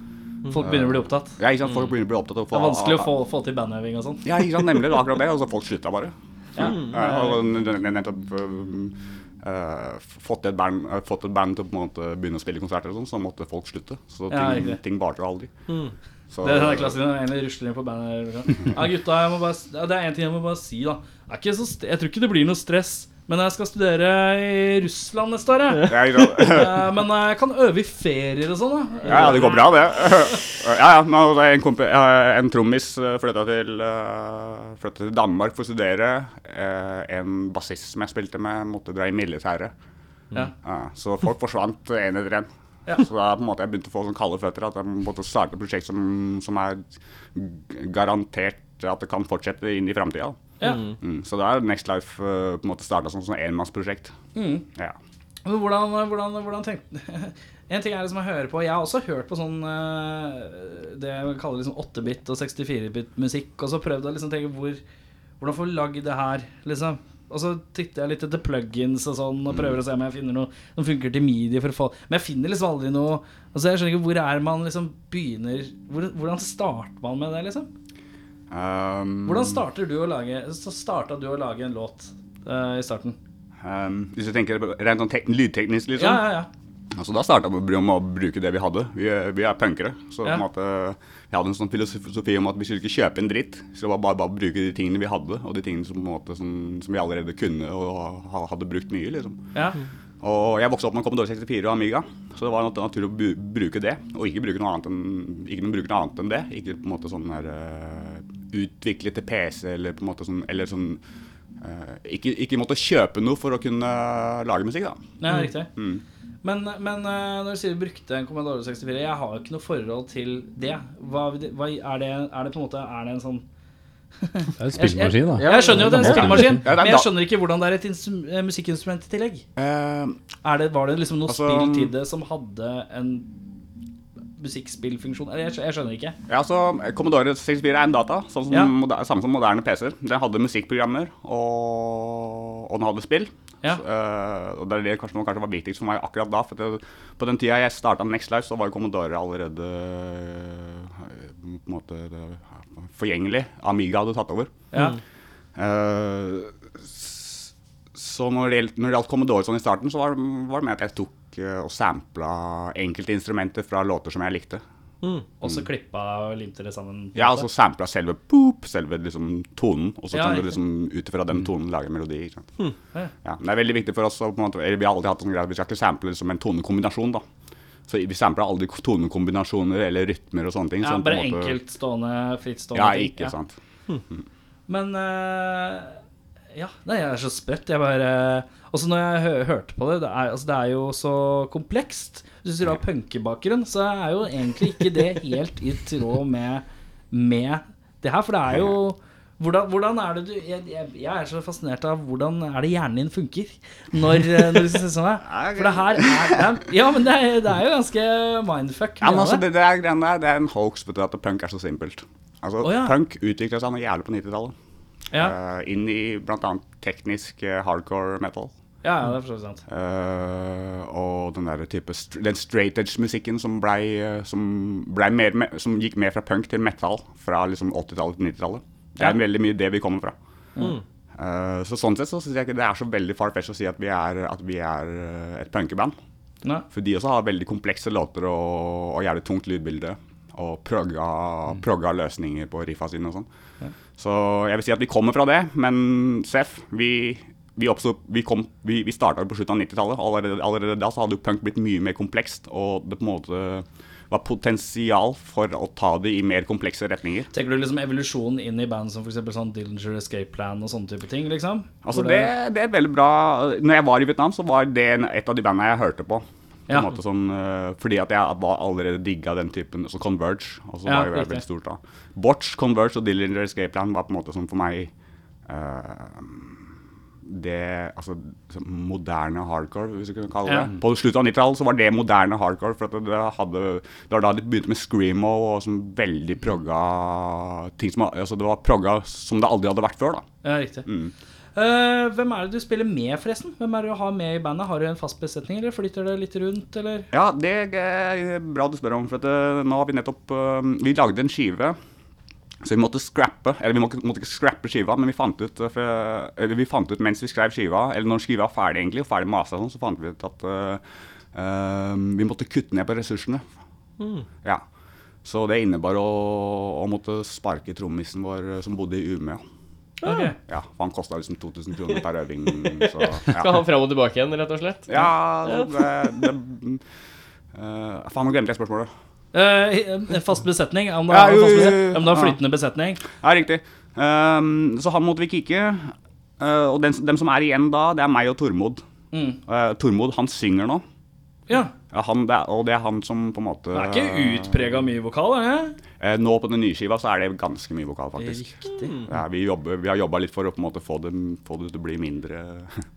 Folk begynner å bli opptatt. Ja, ikke sant, Folk begynner å bli opptatt av å Mm. Det få er vanskelig å få, få til bandøving og sånn. Ja, ikke sant, nemlig. det var akkurat det. Og så folk slutta bare. Ja. Eh, og n- n- nettopp eh, eh, fått, et band, eh, fått et band til å på en måte begynne å spille konserter og sånn, så måtte folk slutte. Så ting, Ja, riktig. Mm. ting varte aldri. Så, Det er den klassen når en rusler inn på bandet. Ja, gutta, jeg må bare, s- ja, det er én ting jeg må bare si, da. Det er ikke så, st- jeg tror ikke det blir noe stress, men jeg skal studere i Russland neste år, jeg. Ja, ikke sant? Eh, men eh, jeg kan øve i ferier og sånn, da. Ja, ja, det går bra, det. Ja, ja, nå er det en, kompi- ja, en trommis flytta til, eh, flyttet til Danmark for å studere. Eh, En bassist som jeg spilte med, måtte dra i militæret. Ja. Ja, så folk forsvant en etter en. Ja. Så da på en måte jeg begynte å få sånn kalde føtter at jeg måtte starte et prosjekt som, som er garantert at det kan fortsette inn i framtida. Ja. Mm, så da er Next Life eh, på en måte starta som sånn enmannsprosjekt. Mm. Ja. Men hvordan, eh, hvordan, hvordan tenkte En ting er liksom å høre på. Jeg har også hørt på sånn eh, det jeg kaller liksom 8-bit og 64-bit musikk, og så prøvd å liksom tenke hvor, hvordan får vi lagd det her, liksom. Og så titter jeg litt etter plugins og sånn og prøver å se om jeg finner noe som funker til medie. For å få, men jeg finner liksom aldri noe Altså Jeg skjønner ikke hvor er man liksom begynner hvor, Hvordan starter man med det, liksom? Um, Hvordan starter du å lage Så starta du å lage en låt eh, i starten? um, hvis du tenker på rent sånn tek lydteknisk, liksom. Ja, ja, ja. Altså, da starta vi med å bruke det vi hadde. Vi, er- vi er punkere. Så Ja. på en måte, vi hadde en sånn filosofi om at vi skulle ikke kjøpe en dritt. Vi skulle bare, bare, bare bruke de tingene vi hadde, og de tingene som, på en måte, som, som vi allerede kunne og ha- hadde brukt mye. liksom. ja. Og Jeg vokste opp med en Commodore 64 og Amiga, så det var nat- naturlig å bu bruke det. Og ikke bruke noe annet enn, ikke noe- bruke noe annet enn det. Ikke på en måte sånn her eh, utvikle til PC eller på en måte sånn, eller sånn eh, ikke, ikke måtte kjøpe noe for å kunne lage musikk, da. Ja, riktig. Mm. Men, men eh, når du sier du brukte en Commodore 64 Jeg har jo ikke noe forhold til det. Hva, hva, er, det er det på en måte Er det en sånn Det er en Jeg- jeg- spillemaskin, da. Ja, Jeg skjønner jo at det er en det er spillemaskin, Ja, det er men da- jeg skjønner ikke hvordan det er et instru- eh, musikkinstrument i tillegg. Eh, Er det, var det liksom noe Altså, spill til det som hadde en musikkspillfunksjon? Eller, Jeg, skj- jeg skjønner ikke. Ja, så eh, Commodore 64 er en data, sånn som Ja. moder- samme som moderne PC-er. Den hadde musikkprogrammer, og, og den hadde spill. Ja. Så, eh, og Det er det kanskje, som kanskje var viktigst for meg akkurat da. For det, på den tida jeg starta Next Life, så var jo Commodore allerede eh, på en måte det- forgjengelig. Amiga hadde tatt over. Ja. Eh, s- så når det, gjeld- når det gjaldt Commodore sånn i starten, så var, var det med at jeg tok eh, og sampla enkelte instrumenter fra låter som jeg likte. Og så klippa og limte det sammen. Ja, altså sampla selve boop, selve liksom tonen, og så Ja, kan du riktig. liksom ut ifra den tonen lage melodi. Ikke sant? Hm, Ja. Ja, men det er veldig viktig for oss, å på en måte, eller vi har alltid hatt sånn greie at vi skal ikke sample liksom en tonekombinasjon, da. Så vi sampler aldri tonekombinasjoner eller rytmer og sånne ting. Ja, sånn på bare en måte- enkeltstående, frittstående Ja, ting. ikke sant. Men eh, Ja, nei, jeg er så sprøtt. Jeg bare eh, Også når jeg hø hørte på det, det er, altså, det er jo så komplekst. Hvis du har punkebakgrunn, så er jo egentlig ikke det helt i tråd med, med det her. For det er jo hvordan, hvordan er det du jeg, jeg, jeg er så fascinert av hvordan er det hjernen din funker når, eh, når du synes sånn her. For det her er det er- Ja, men det er, det er jo ganske mindfuck. Ja, men mye av altså, det. det, det, er, greiene der, det er en hoax, vet du, at punk er så simpelt. Altså, Å, ja. punk utvikla seg noe jævlig på 90-tallet. ja, Eh, inn i blant annet teknisk eh, hardcore metal. ja, ja, det er for så vidt sant. Eh, og den der type str Den straight edge-musikken som, blei, eh, som, blei mer, me som gikk mer fra punk til metal fra liksom 80-tallet til 90-tallet. Det er Ja. veldig mye det vi kommer fra. Eh, så sånn sett så syns jeg ikke det er så veldig far-fetched å si at vi er, at vi er eh, et punkeband. Nei. For de også har veldig komplekse låter og, og jævlig tungt lydbilde. Og progga, progga løsninger på riffa sine og sånn. Så jeg vil si at vi kommer fra det, men Seff, vi, vi, oppsto- vi, kom- vi, vi starta på slutten av 90-tallet. og Allerede, allerede da så hadde jo punk blitt mye mer komplekst, og det på en måte var potensial for å ta det i mer komplekse retninger. Tenker du liksom evolusjonen inn i band som for eksempel sånn Dillinger Escape Plan og sånne type ting? liksom? Altså Hvor det, det er veldig bra Når jeg var i Vietnam, så var det en- et av de bandene jeg hørte på. På Ja. en måte sånn, eh, fordi at jeg var allerede digga den typen. Så Converge også Ja, var jo riktig. veldig stort da. Botch, Converge og Dillinger Escape Plan var på en måte sånn for meg eh, det altså, sånn moderne hardcore, hvis du kan kalle det. Ja. På slutten av 90-tallet så var det moderne hardcore. For at det, det, hadde, det var da de begynte med screamo og sånn veldig progga ting som altså, Det var progga som det aldri hadde vært før. da. Ja, riktig. Mm. Eh, hvem er det du spiller med, forresten? Hvem er det du har med i bandet? Har du en fast besetning, eller flytter det litt rundt, eller? Ja, det er bra du spør om, for at eh, nå har vi nettopp eh, Vi lagde en skive. Så vi måtte scrappe, eller vi måtte, måtte ikke scrappe skiva, men vi fant ut eh, for, eller vi fant ut mens vi skrev skiva, eller når skiva var ferdig egentlig, og ferdig masa og sånn, så fant vi ut at eh, eh, vi måtte kutte ned på ressursene. Ja. Så det innebar å, å måtte sparke trommisen vår eh, som bodde i Umeå. Ah. Ok. Ja, for han kosta liksom 2000 kroner per øving. Så, ja. Skal han fram og tilbake igjen, rett og slett? Ja, det, det eh, Faen, nå glemte jeg spørsmålet. Eh, en fast besetning? Om du Ja, har, en jo, fast jo, jo, besetning, jo. Ah. om du har Ja. flytende besetning? Ja, riktig. Ehm, så han måtte vi kikke. eh, og den, dem som er igjen da, det er meg og Tormod. Mm. Eh, Tormod, han synger nå. Ja. Ja, han, det er, og det er han som på en måte Det er ikke Ah. utprega mye vokal, er det? eh, Nå på den nye skiva så er det ganske mye vokal, faktisk. Riktig. Ja, vi, jobber, vi har jobba litt for å på en måte få det, få det til å bli mindre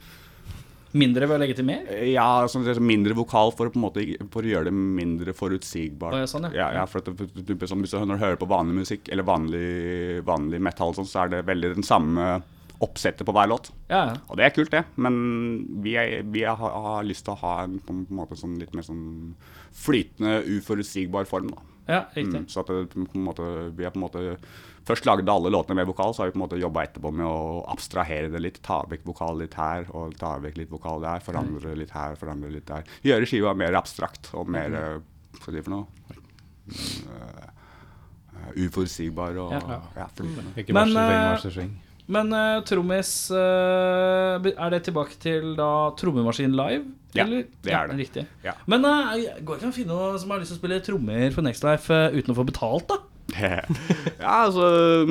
Mindre ved å legge til mer? Ja, sånn, det er mindre vokal for å, på en måte, for å gjøre det mindre forutsigbart. Å, ja, sånn, ja. Ja, for at det, du, du, som hvis du, når du hører på vanlig musikk, eller vanlig, vanlig metal, sånn, så er det veldig den samme oppsettet på hver låt. Ja, ja. Og det er kult, det, men vi, er, vi er, har, har lyst til å ha en, på en måte, sånn, litt mer sånn flytende, uforutsigbar form. da. ja riktig. Mm, så at det, på en måte, vi har på en måte Først lagde alle låtene med vokal, så har vi på en måte jobba etterpå med å abstrahere det litt. Ta vekk vokal litt her, og ta vekk litt vokal der. Forandre litt her, forandre litt der. Gjøre skiva mer abstrakt og mer Mm. eh, Hva skal jeg si for noe? Mm, eh, uforutsigbar og Ja. ja. flytende. Ikke Men, verste ting, eh, verste ting. Men eh, trommis eh, Er det tilbake til da trommemaskin live? Ja, det er det. Riktig. Ja. Men eh, går ikke an å finne noen som har lyst til å spille trommer på Next Life eh, uten å få betalt, da? ja, altså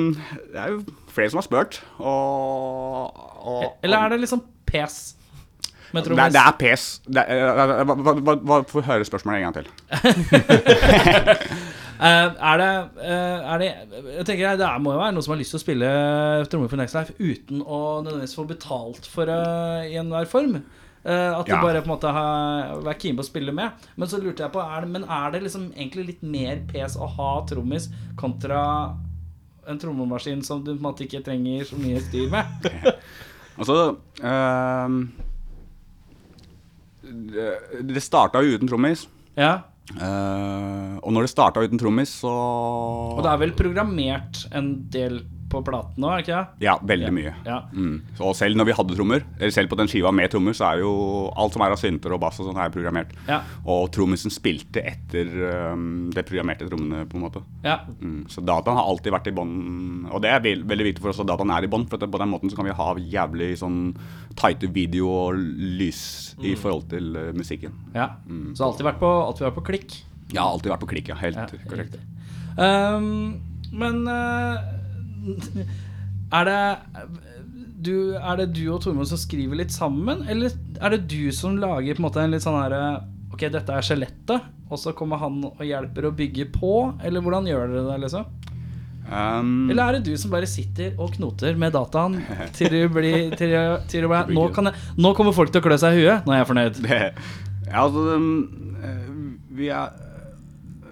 Det er jo flere som har spurt, og, og Eller er det liksom pes med Nei, trommis? det er pes. Det er, eh, hva, hva, hva, hva, Få høre spørsmålet en gang til. Eh, er det, eh, er det Jeg tenker det er, må jo være noen som har lyst til å spille eh, trommer for Next Life uten å nødvendigvis få betalt for det i enhver form. Eh, at du Ja. bare på en måte har vært keen på å spille med. Men så lurte jeg på er det, Men er det liksom egentlig litt mer pes å ha trommis kontra en trommemaskin som du på en måte ikke trenger så mye styr med? Altså ehm, Det, det starta jo uten trommis. Ja Eh, og når det starta uten trommis, så Og det er vel programmert en del på platen nå, er det ikke det? Ja, veldig mye. Ja. Mm. Så selv når vi hadde trommer, eller selv på den skiva med trommer, så er jo alt som er av synter og bass og sånn, er programmert. Ja. Og trommisen spilte etter ehm, det programmerte trommene, på en måte. ja. Mm. Så dataen har alltid vært i bånn, og det er vel- veldig viktig for oss at dataen er i bånn, for at på den måten så kan vi ha jævlig sånn tighte video og lys i forhold til eh, musikken. ja. Så det har alltid vært på, alltid vært på klikk. Jeg har alltid vært på klikk, ja. Helt Ja, korrekt. Ehm, men eh, er det du, er det du og Tormod som skriver litt sammen, eller er det du som lager på en måte en litt sånn herre Ok, dette er skjelettet, og så kommer han og hjelper å bygge på? Eller hvordan gjør dere det? liksom? Um, Eller er det du som bare sitter og knoter med dataen til du blir til, du- til du bare, nå, kan jeg, nå kommer folk til å klø seg i huet. Nå er jeg fornøyd. det, ja, altså um, eh, Vi er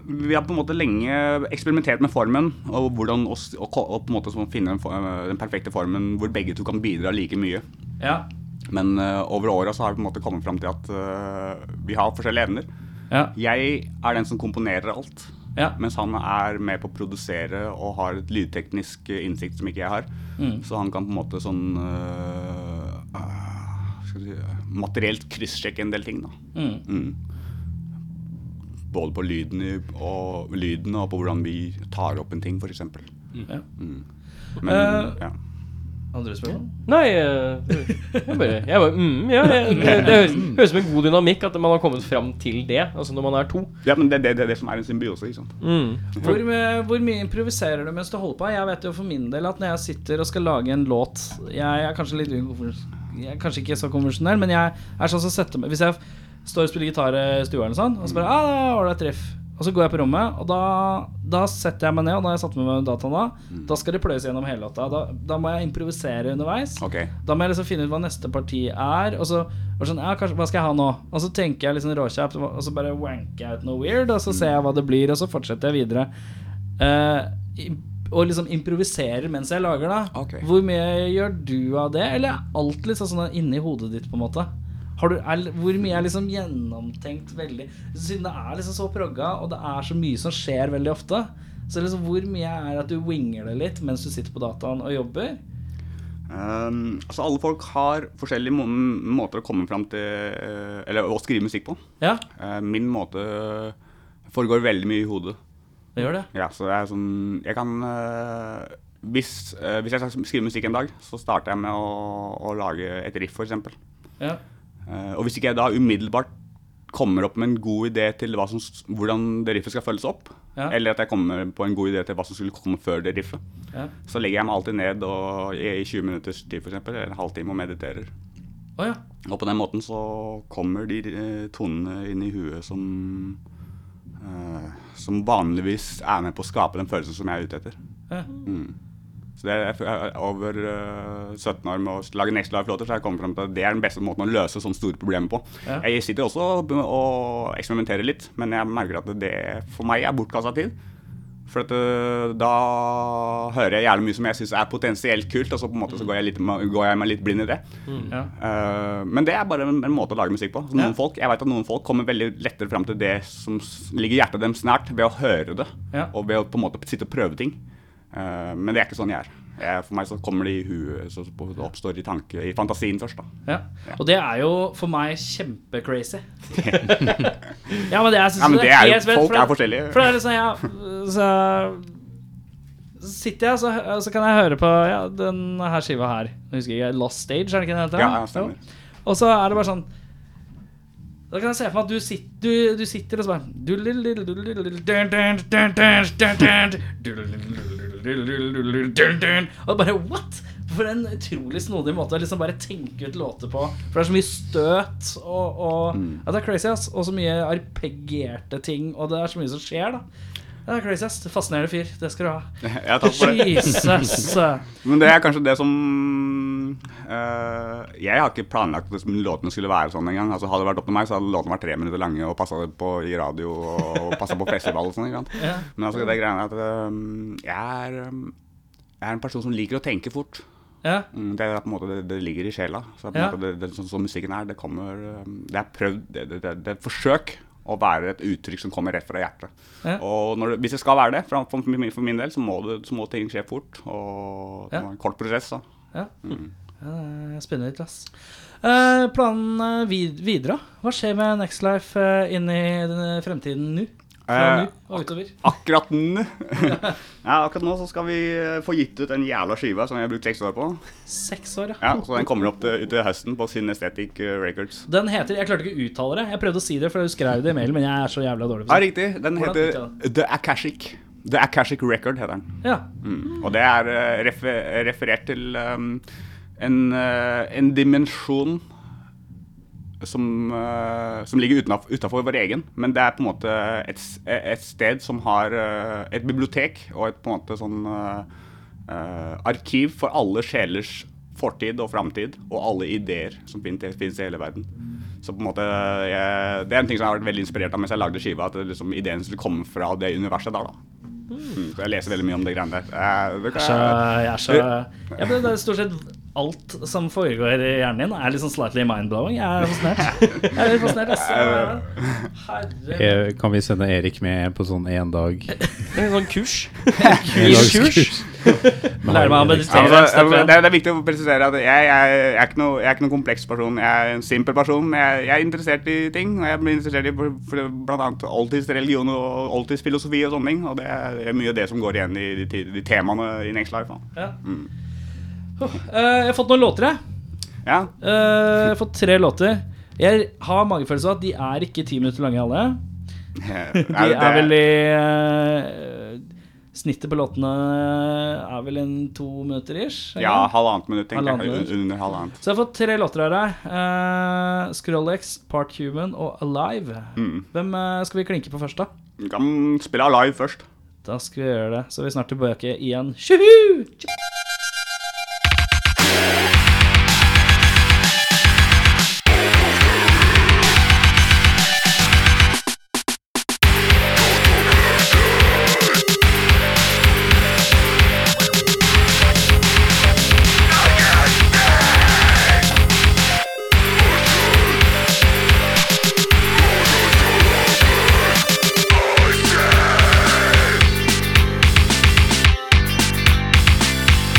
vi har på en måte lenge eksperimentert med formen og hvordan oss, og, ko- og på en måte sånn finne den, for- eh, den perfekte formen hvor begge to kan bidra like mye. Ja, Men eh, over åra så har vi på en måte kommet fram til at eh, vi har forskjellige evner. ja, Jeg er den som komponerer alt, ja. mens han er med på å produsere og har et lydteknisk eh, innsikt som ikke jeg har. Så han kan på en måte sånn øh, øh, skal vi si, øh, materielt kryssjekke en del ting, da. Mm. Både på lyden, i- og, lyden og på hvordan vi tar opp en ting, f.eks. Ja. Men Eh, ja. Andre spørsmål? Nei eh, Jeg bare, jeg bare mm, ja, jeg, Det det høres høres ut som en god dynamikk at man har kommet fram til det, altså når man er to. Mm. ja, men det er det, det, er det som er en symbiose, ikke sant. Hvor, mye- hvor mye improviserer du mens du holder på? Jeg vet jo for min del at når jeg sitter og skal lage en låt Jeg er kanskje litt ukonvers- Jeg er kanskje ikke så konvensjonell, men jeg er sånn som setter meg Hvis jeg står og spiller gitar i stua eller sånn, og så bare ah, det var ålreit treff. Og så går jeg på rommet, og da, da setter jeg meg ned, og da har jeg satt med meg dataen da. Da skal det pløyes gjennom hele låta. Da, da må jeg improvisere underveis. Ok. Da må jeg liksom finne ut hva neste parti er. Og så og sånn, ja, kanskje, hva skal jeg ha nå? Og så tenker jeg liksom råkjapt, og så bare wanker jeg ut noe weird, og så ser jeg hva det blir, og så fortsetter jeg videre. Eh, i- og liksom improviserer mens jeg lager, da. Ok. Hvor mye gjør du av det? Eller er alt liksom sånn inni hodet ditt, på en måte? Har du, er, hvor mye er liksom gjennomtenkt veldig Siden det er liksom så progga, og det er så mye som skjer veldig ofte, så liksom hvor mye er at du winger det litt mens du sitter på dataen og jobber? Um, altså alle folk har forskjellige må måter å komme fram til eh, Eller å skrive musikk på. Ja, Eh, min måte foregår veldig mye i hodet. det gjør det. Ja, så det er sånn Jeg kan eh, hvis, eh, hvis jeg skal skrive musikk en dag, så starter jeg med å, å lage et riff, f.eks. Ja. Uh, og hvis ikke jeg da umiddelbart kommer opp med en god idé til hva som, s- hvordan det riffet skal følges opp, Ja. eller at jeg kommer på en god idé til hva som skulle komme før det riffet, Ja. så legger jeg meg alltid ned og, i, i 20 minutters tid, f.eks., eller en halvtime, og mediterer. Å ja. Og på den måten så kommer de eh, tonene inn i huet som eh, Som vanligvis er med på å skape den følelsen som jeg er ute etter. Ja. Mm. Så det er, jeg er over eh, 17 år med å lage Next Life-låter, så har jeg kommet frem til at det er den beste måten å løse sånne store problemer på. Ja. Jeg sitter også og be- og eksperimenterer litt, men jeg merker at det for meg er bortkasta tid. For at, eh, da hører jeg gjerne mye som jeg syns er potensielt kult, og så på en måte Mm. så går jeg, litt, går jeg meg litt blind i det. ja. Eh, men det er bare en, en måte å lage musikk på. Så noen folk, jeg vet at noen folk kommer veldig lettere fram til det som s- ligger hjertet dem snært, ved å høre det. Ja. Og ved å på en måte sitte og prøve ting. Eh, men det er ikke sånn jeg er. Jeg, for meg så kommer det i huet, så på- det oppstår i, tanke, i fantasien først. da. Ja. Og det er jo for meg kjempecrazy. ja, men det er, jeg synes Ja, men det er jo- helt sprøtt, folk for det- er forskjellige. For det er liksom, ja, så, så sitter jeg, så, så kan jeg høre på ja, den her skiva her. Jeg husker ikke, Lost Stage, er det ikke den heter? Ja, ja, stemmer. Jo. Og så er det bare sånn da kan jeg se for meg at du, sit, du, du sitter og så bare Og bare what?! For en utrolig snodig måte å liksom bare tenke ut låter på. For det er så mye støt og, og ja, Det er crazy, ass. Og så mye arpegerte ting, og det er så mye som skjer, da. Det er crazy, ass. Fascinerende fyr. Det skal du ha. Ja, takk for det. Jesus! Men det er kanskje det som eh, Jeg har ikke planlagt at låtene skulle være sånn engang. Altså, hadde det vært opp til meg, så hadde låtene vært tre minutter lange og passa på i radio og passa på festival og sånn. ikke sant? Ja. Men altså, det er greia at eh, jeg, er, eh, jeg er en person som liker å tenke fort. Ja. Mm, Det er på en måte det, det ligger i sjela. Så det er på en Ja. måte det, det, sånn som musikken er, det kommer eh, Det er prøvd, det, det, det, det er et forsøk å være et uttrykk som kommer rett fra hjertet. Ja. Og når det, hvis det skal være det, for, for, min, for min del, så må, det, så må ting skje fort. Og det Ja. var en kort prosess. da. Ja. ja det er spennende, ass. Eh, planen eh, vid videre? Hva skjer med Next Life eh, inn i den, eh, fremtiden nå? Fra Eh, nå og utover? Akkurat nå Ja, akkurat nå så skal vi eh, få gitt ut en jævla skive som vi har brukt seks år på. Seks år, ja. Ja, Så den kommer opp til, ut til høsten på Synesthetic eh, Records. Den heter Jeg klarte ikke å uttale det. Jeg prøvde å si det, for du skrev det i mailen, men jeg er så jævla dårlig Ja, på det. riktig. Den Hvordan heter fikk The Akashic. The Akashic Record heter den. Ja. Mm. Og det er eh, refe- referert til um, en, eh, en dimensjon som, eh, som ligger utenaf, utenfor vår egen, men det er på en måte et, s- et sted som har eh, et bibliotek og et på en måte sånn eh, eh, arkiv for alle sjelers fortid og framtid, og alle ideer som fins i hele verden. Så på en måte, jeg, Det er en ting som jeg har vært veldig inspirert av mens jeg lagde skiva, at det liksom, ideen skulle komme fra det universet der. da. Mm, så jeg leser veldig mye om det greiene der. Eh, det Så kan, jeg er så Eh, jeg, men det er Stort sett alt som foregår i hjernen din, er liksom slightly mind-blowing. Jeg er fascinert. Jeg er litt fascinert, ass. Herre Eh, Kan vi sende Erik med på sånn én dag? Det er en sånn kurs. Endagskurs? Lære meg å ja, meditere. men så- step det, one. er- det er viktig å presisere at jeg, jeg, jeg, er ikke noe, jeg er ikke noen kompleks person. Jeg er en simpel person. men Jeg, jeg er interessert i ting. Og jeg blir interessert i for- for bl.a. oldtidsreligion og oldtidsfilosofi og sånne ting. Og det er, det er mye av det som går igjen i de, ti- de temaene i Next Life. Da. Ja. Oh, eh, jeg har fått noen låter, jeg. Ja, Eh, jeg har fått tre låter. Jeg har magefølelse av at de er ikke ti minutter lange alle. de De er vel i eh, Snittet på låtene er vel en to minutter ish. ikke? Ja, halvannet minutt, tenker jeg. Halvannet minutt. Un- Under halvannet. Så jeg har fått tre låter her. Uh, Skrollex, Part Human og Alive. Mm. Hvem eh, skal vi klinke på først, da? Du kan spille live først. Da skal vi gjøre det. Så vi er snart tilbake igjen. Tjuhu! Thank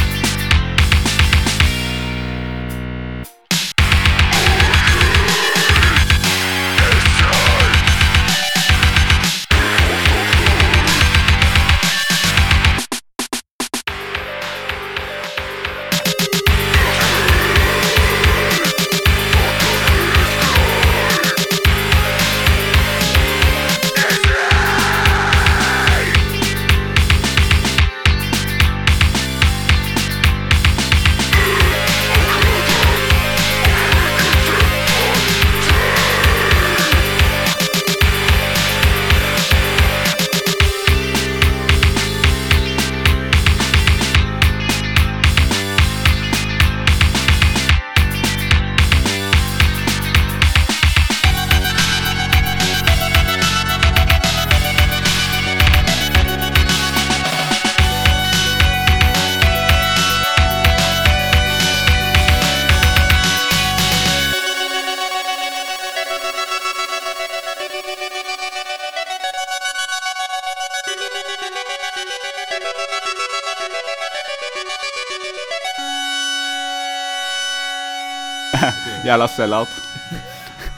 Jævla sell-out.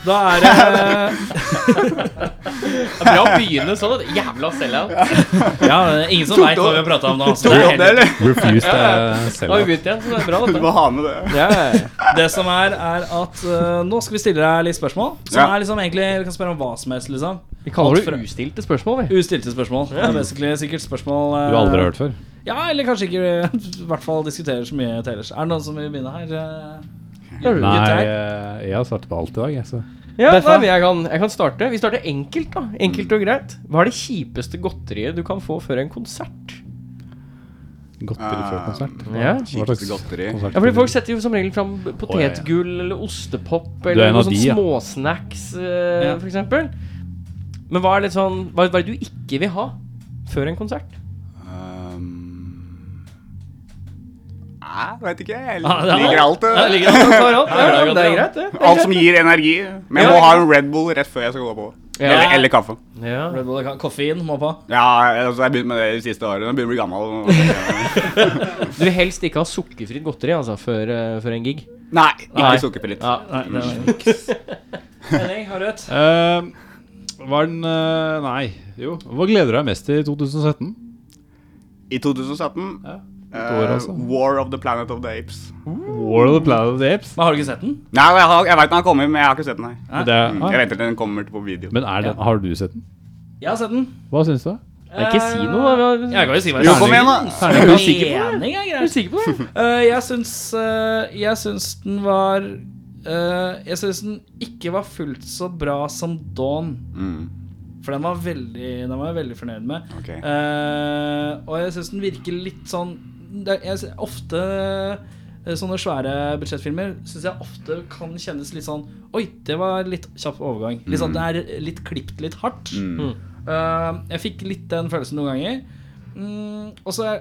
Da er det eh, Det er bra å begynne sånn. at Jævla sellout. Ja, det er ingen som veit hva vi har prata om nå. Så det, er Tok du opp helt, det, eller? Refused uh, Da har vi selv. begynt igjen, så det er bra, Du dette. må ha med det. Yeah. det som er, er at eh, nå skal vi stille deg litt spørsmål. Som Ja. er liksom egentlig Vi kan spørre om hva som helst, liksom. Vi kaller det ustilte spørsmål, vi. Ustilte spørsmål. Det er basically sikkert spørsmål eh, Du har aldri hørt før? Ja, eller kanskje ikke I hvert fall diskuterer så mye til ellers. Er det noen som vil begynne her? eh? Nei, Gutter? eh, jeg har startet på alt i dag, jeg, så Ja, nei, Beffa? men jeg, kan, jeg kan starte. Vi starter enkelt, da. Enkelt og greit. Hva er det kjipeste godteriet du kan få før en konsert? Godteri før konsert. Ja. Hva slags Kjipeste godteri. konsert? Ja, fordi Folk setter jo som regel fram ja, ja. potetgull eller ostepop er eller en noen av sånne de, ja. småsnacks, eh, Ja. for eksempel Men hva er det sånn hva, hva er det du ikke vil ha før en konsert? Um, Nei, veit ikke. Jeg Ah, det er liker alt. Ja, det. ligger det an. Ja, det ja, er det er godt, greit, det. Alt som gir energi. Men Ja. jeg må ha en Red Bull rett før jeg skal gå på. Eller, eller kaffe. Ja. Red Bull, Koffein må på. Ja, altså, jeg har begynt med det de siste årene. Jeg begynner å bli gammel. Du vil helst ikke ha sukkerfritt godteri altså, før, eh, før en gig. Nei, ikke Nei. sukkerpillitt. Ja. Nei, det er Henning, har du et? Ehm, hva er den eh, Nei, jo. Hva gleder du deg mest til i 2017? I 2017 Et år, eh, altså. War of the Planet of the Apes. War of the Planet of the Apes? Men har du ikke sett den? Nei, jeg, har- jeg veit den har kommet, men jeg har ikke sett den. Nei. Men Det er, Mm, Jeg venter til den kommer på video. Ah. Men er den, har du sett den? Jeg har sett den. Hva syns du? Nei, ikke si noe, da. Vi har- Jeg kan jo si hva Jo, jeg kom igjen, da! Er du sikker på det? Er Er du sikker på det? Eh, jeg syns eh, Jeg syns den var eh, Jeg syns den ikke var fullt så bra som Dawn. Mm, For den var, veldig, den var jeg veldig fornøyd med. ok. Eh, og jeg syns den virker litt sånn det, jeg, sy- Ofte eh, sånne svære budsjettfilmer syns jeg ofte kan kjennes litt sånn Oi, det var litt kjapp overgang. Litt sånn, Det er litt klipt litt hardt. Mm. Eh, jeg fikk litt den følelsen noen ganger. Mm, og så er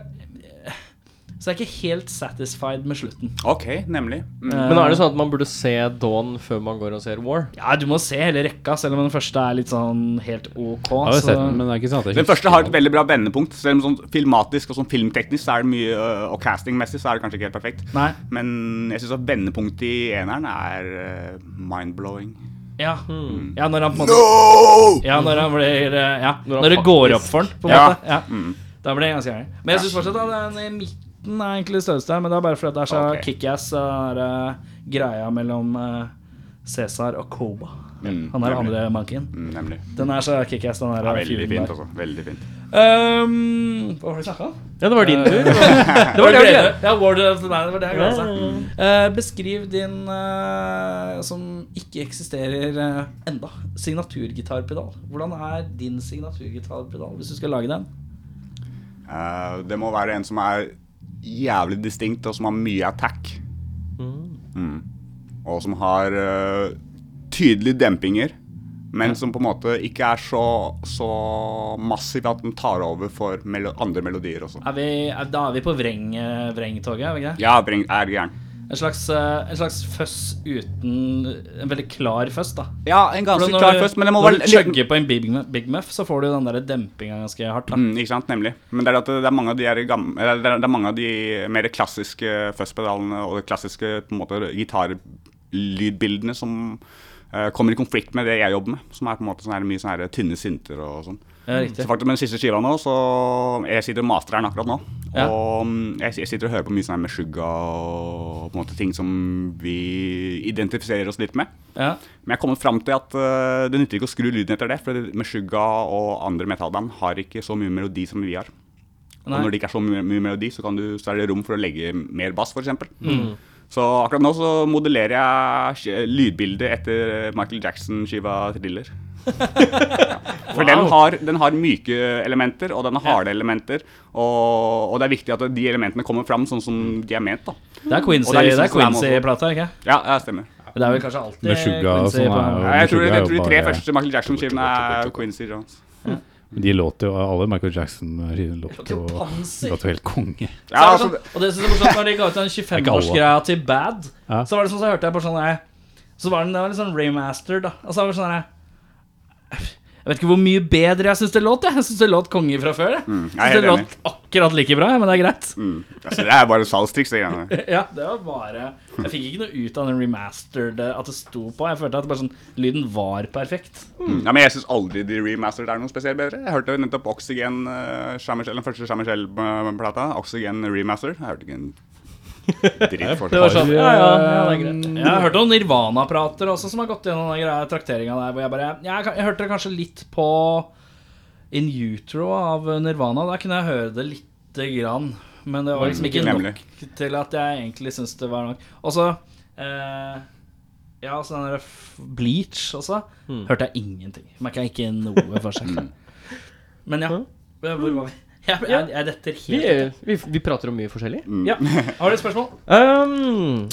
Så er jeg ikke helt satisfied med slutten. Ok, nemlig. Mm. Men er det sånn at man burde se Dawn før man går og ser War? Ja, du må se hele rekka, selv om den første er litt sånn helt ok. Jeg har jo så- sett den, men det er ikke sant. Den første har et veldig bra vendepunkt. Selv om sånn filmatisk og sånn filmteknisk så er det mye, øh, og castingmessig så er det kanskje ikke helt perfekt. Nei. Men jeg syns at vendepunktet i eneren er øh, mind-blowing. Ja. Hmm. ja, når han på en måte Ja, når han blir eh, Ja, når, det går opp for han, på en Ja. Mm. måte. Ja. Da blir det ganske gærent. Men jeg syns fortsatt at den i midten er egentlig størrelse der, men det er bare fordi at det er så Ok. kickass den der, eh, greia mellom eh, Cæsar og Koba. Mm, Han er nemlig. andre monkeyen. Mm, nemlig. Den er så kickass, den der. Ja, eh, feuden veldig fint, der. altså. Veldig fint. Ehm, hva var det vi snakka om? Ja, det var din tur. Det var det jeg gledet. Ja, World of the Night, det var det jeg gledet seg. Eh, beskriv din eh, som ikke eksisterer eh, enda signaturgitarpedal. Hvordan er din signaturgitarpedal hvis du skal lage den? Eh, det må være en som er jævlig distinkt, og som har mye attack. Mm. Og som har eh, tydelige dempinger, men som på en måte ikke er så, så massiv at den tar over for melo andre melodier også. Er vi, er, da er vi på vreng, eh, vrengtoget, er vi ikke det? Ja, breng, er gæren. En slags, eh, en slags føss uten En veldig klar føss, da. Ja, en ganske Hvordan klar først, men det må når være du chugger på en Big, Mu- Big Muff, så får du den der dempinga ganske hardt. da Mm, ikke sant, nemlig. Men det er, at eh, det er mange av de, her gam- eller det er, det er mange av de mer klassiske fuzz-pedalene og de klassiske på en måte, gitarlydbildene som eh, kommer i konflikt med det jeg jobber med, som er på en måte sånn her, mye sånn her, tynne synter og sånn. Ja, riktig. Så faktisk med den siste skiva nå, så Jeg sitter og master den akkurat nå. Ja. Og mm, jeg, jeg sitter og hører på mye sånn her med Suga og på en måte ting som vi identifiserer oss litt med. Ja. Men jeg har kommet fram til at øh, det nytter ikke å skru lyden etter det, for Meshuggah og andre metallband har ikke så mye melodi som vi har. Nei. Og når det ikke er så mye, mye melodi, så, kan du, så er det rom for å legge mer bass, f.eks. Mm. Så akkurat nå så modellerer jeg sk- lydbildet etter Michael Jackson-skiva 'Thriller'. Ja. For den, har, den har myke elementer, og den har harde elementer. Og, og det er viktig at de elementene kommer fram sånn som de er ment. da. Det er Quincy- Og det er liksom det er slam også. Quincy-plata, ikke Ja, det stemmer. Men Det er vel kanskje alltid Med Sugar og Quincy sånn på- er Ja, jeg, Meshuggah tror, er jeg jo tror de tre bare- første Michael Jackson-skivene er Quincy Jones. De låter jo Alle Michael Jackson-skivene låter jo Panser. låter jo helt konge. Så er Ja, det altså, sånn, og det synes jeg er morsomt når de ga ut den 25-årsgreia til Bad. Ja. Så var det sånn så hørte jeg på sånn der, Så var den, det var litt sånn remastered, da. Og så var det sånn der, Jeg vet ikke hvor mye bedre jeg syns det låt. Jeg, jeg syns det låt konge fra før. Jeg Mm, jeg er synes helt det låt akkurat like bra, men det er greit. Mm. Altså, det er bare salgstriks, det greiene der. Ja, det var bare Jeg fikk ikke noe ut av den remastered eh, at det sto på. Jeg følte at det bare sånn, lyden var perfekt. Mm. Ja, men jeg syns aldri de remastered er noe spesielt bedre. Jeg hørte nettopp Oxygen, eh, Shamishell- den første Shamichel-plata. Oxygen remastered. Jeg hørte ikke en dritt for Det var sånn, Har, ja, ja, ja, det er eh, greit. Jeg har hørt noen Nirvana-prater også som har gått gjennom den greia trakteringa der, hvor jeg bare jeg, jeg hørte det kanskje litt på In Utro av Nirvana. Der kunne jeg høre det lite grann. Men det var liksom ikke Nemlig. nok til at jeg egentlig syns det var nok. Og så eh, Ja, så den der f- Bleach også. Hørte jeg ingenting. Merka ikke noe forskjell. Men ja, hvor var vi? Jeg, jeg, jeg detter Vi, helt vi, vi prater om mye forskjellig. Mm. Ja. Har du et spørsmål? Um,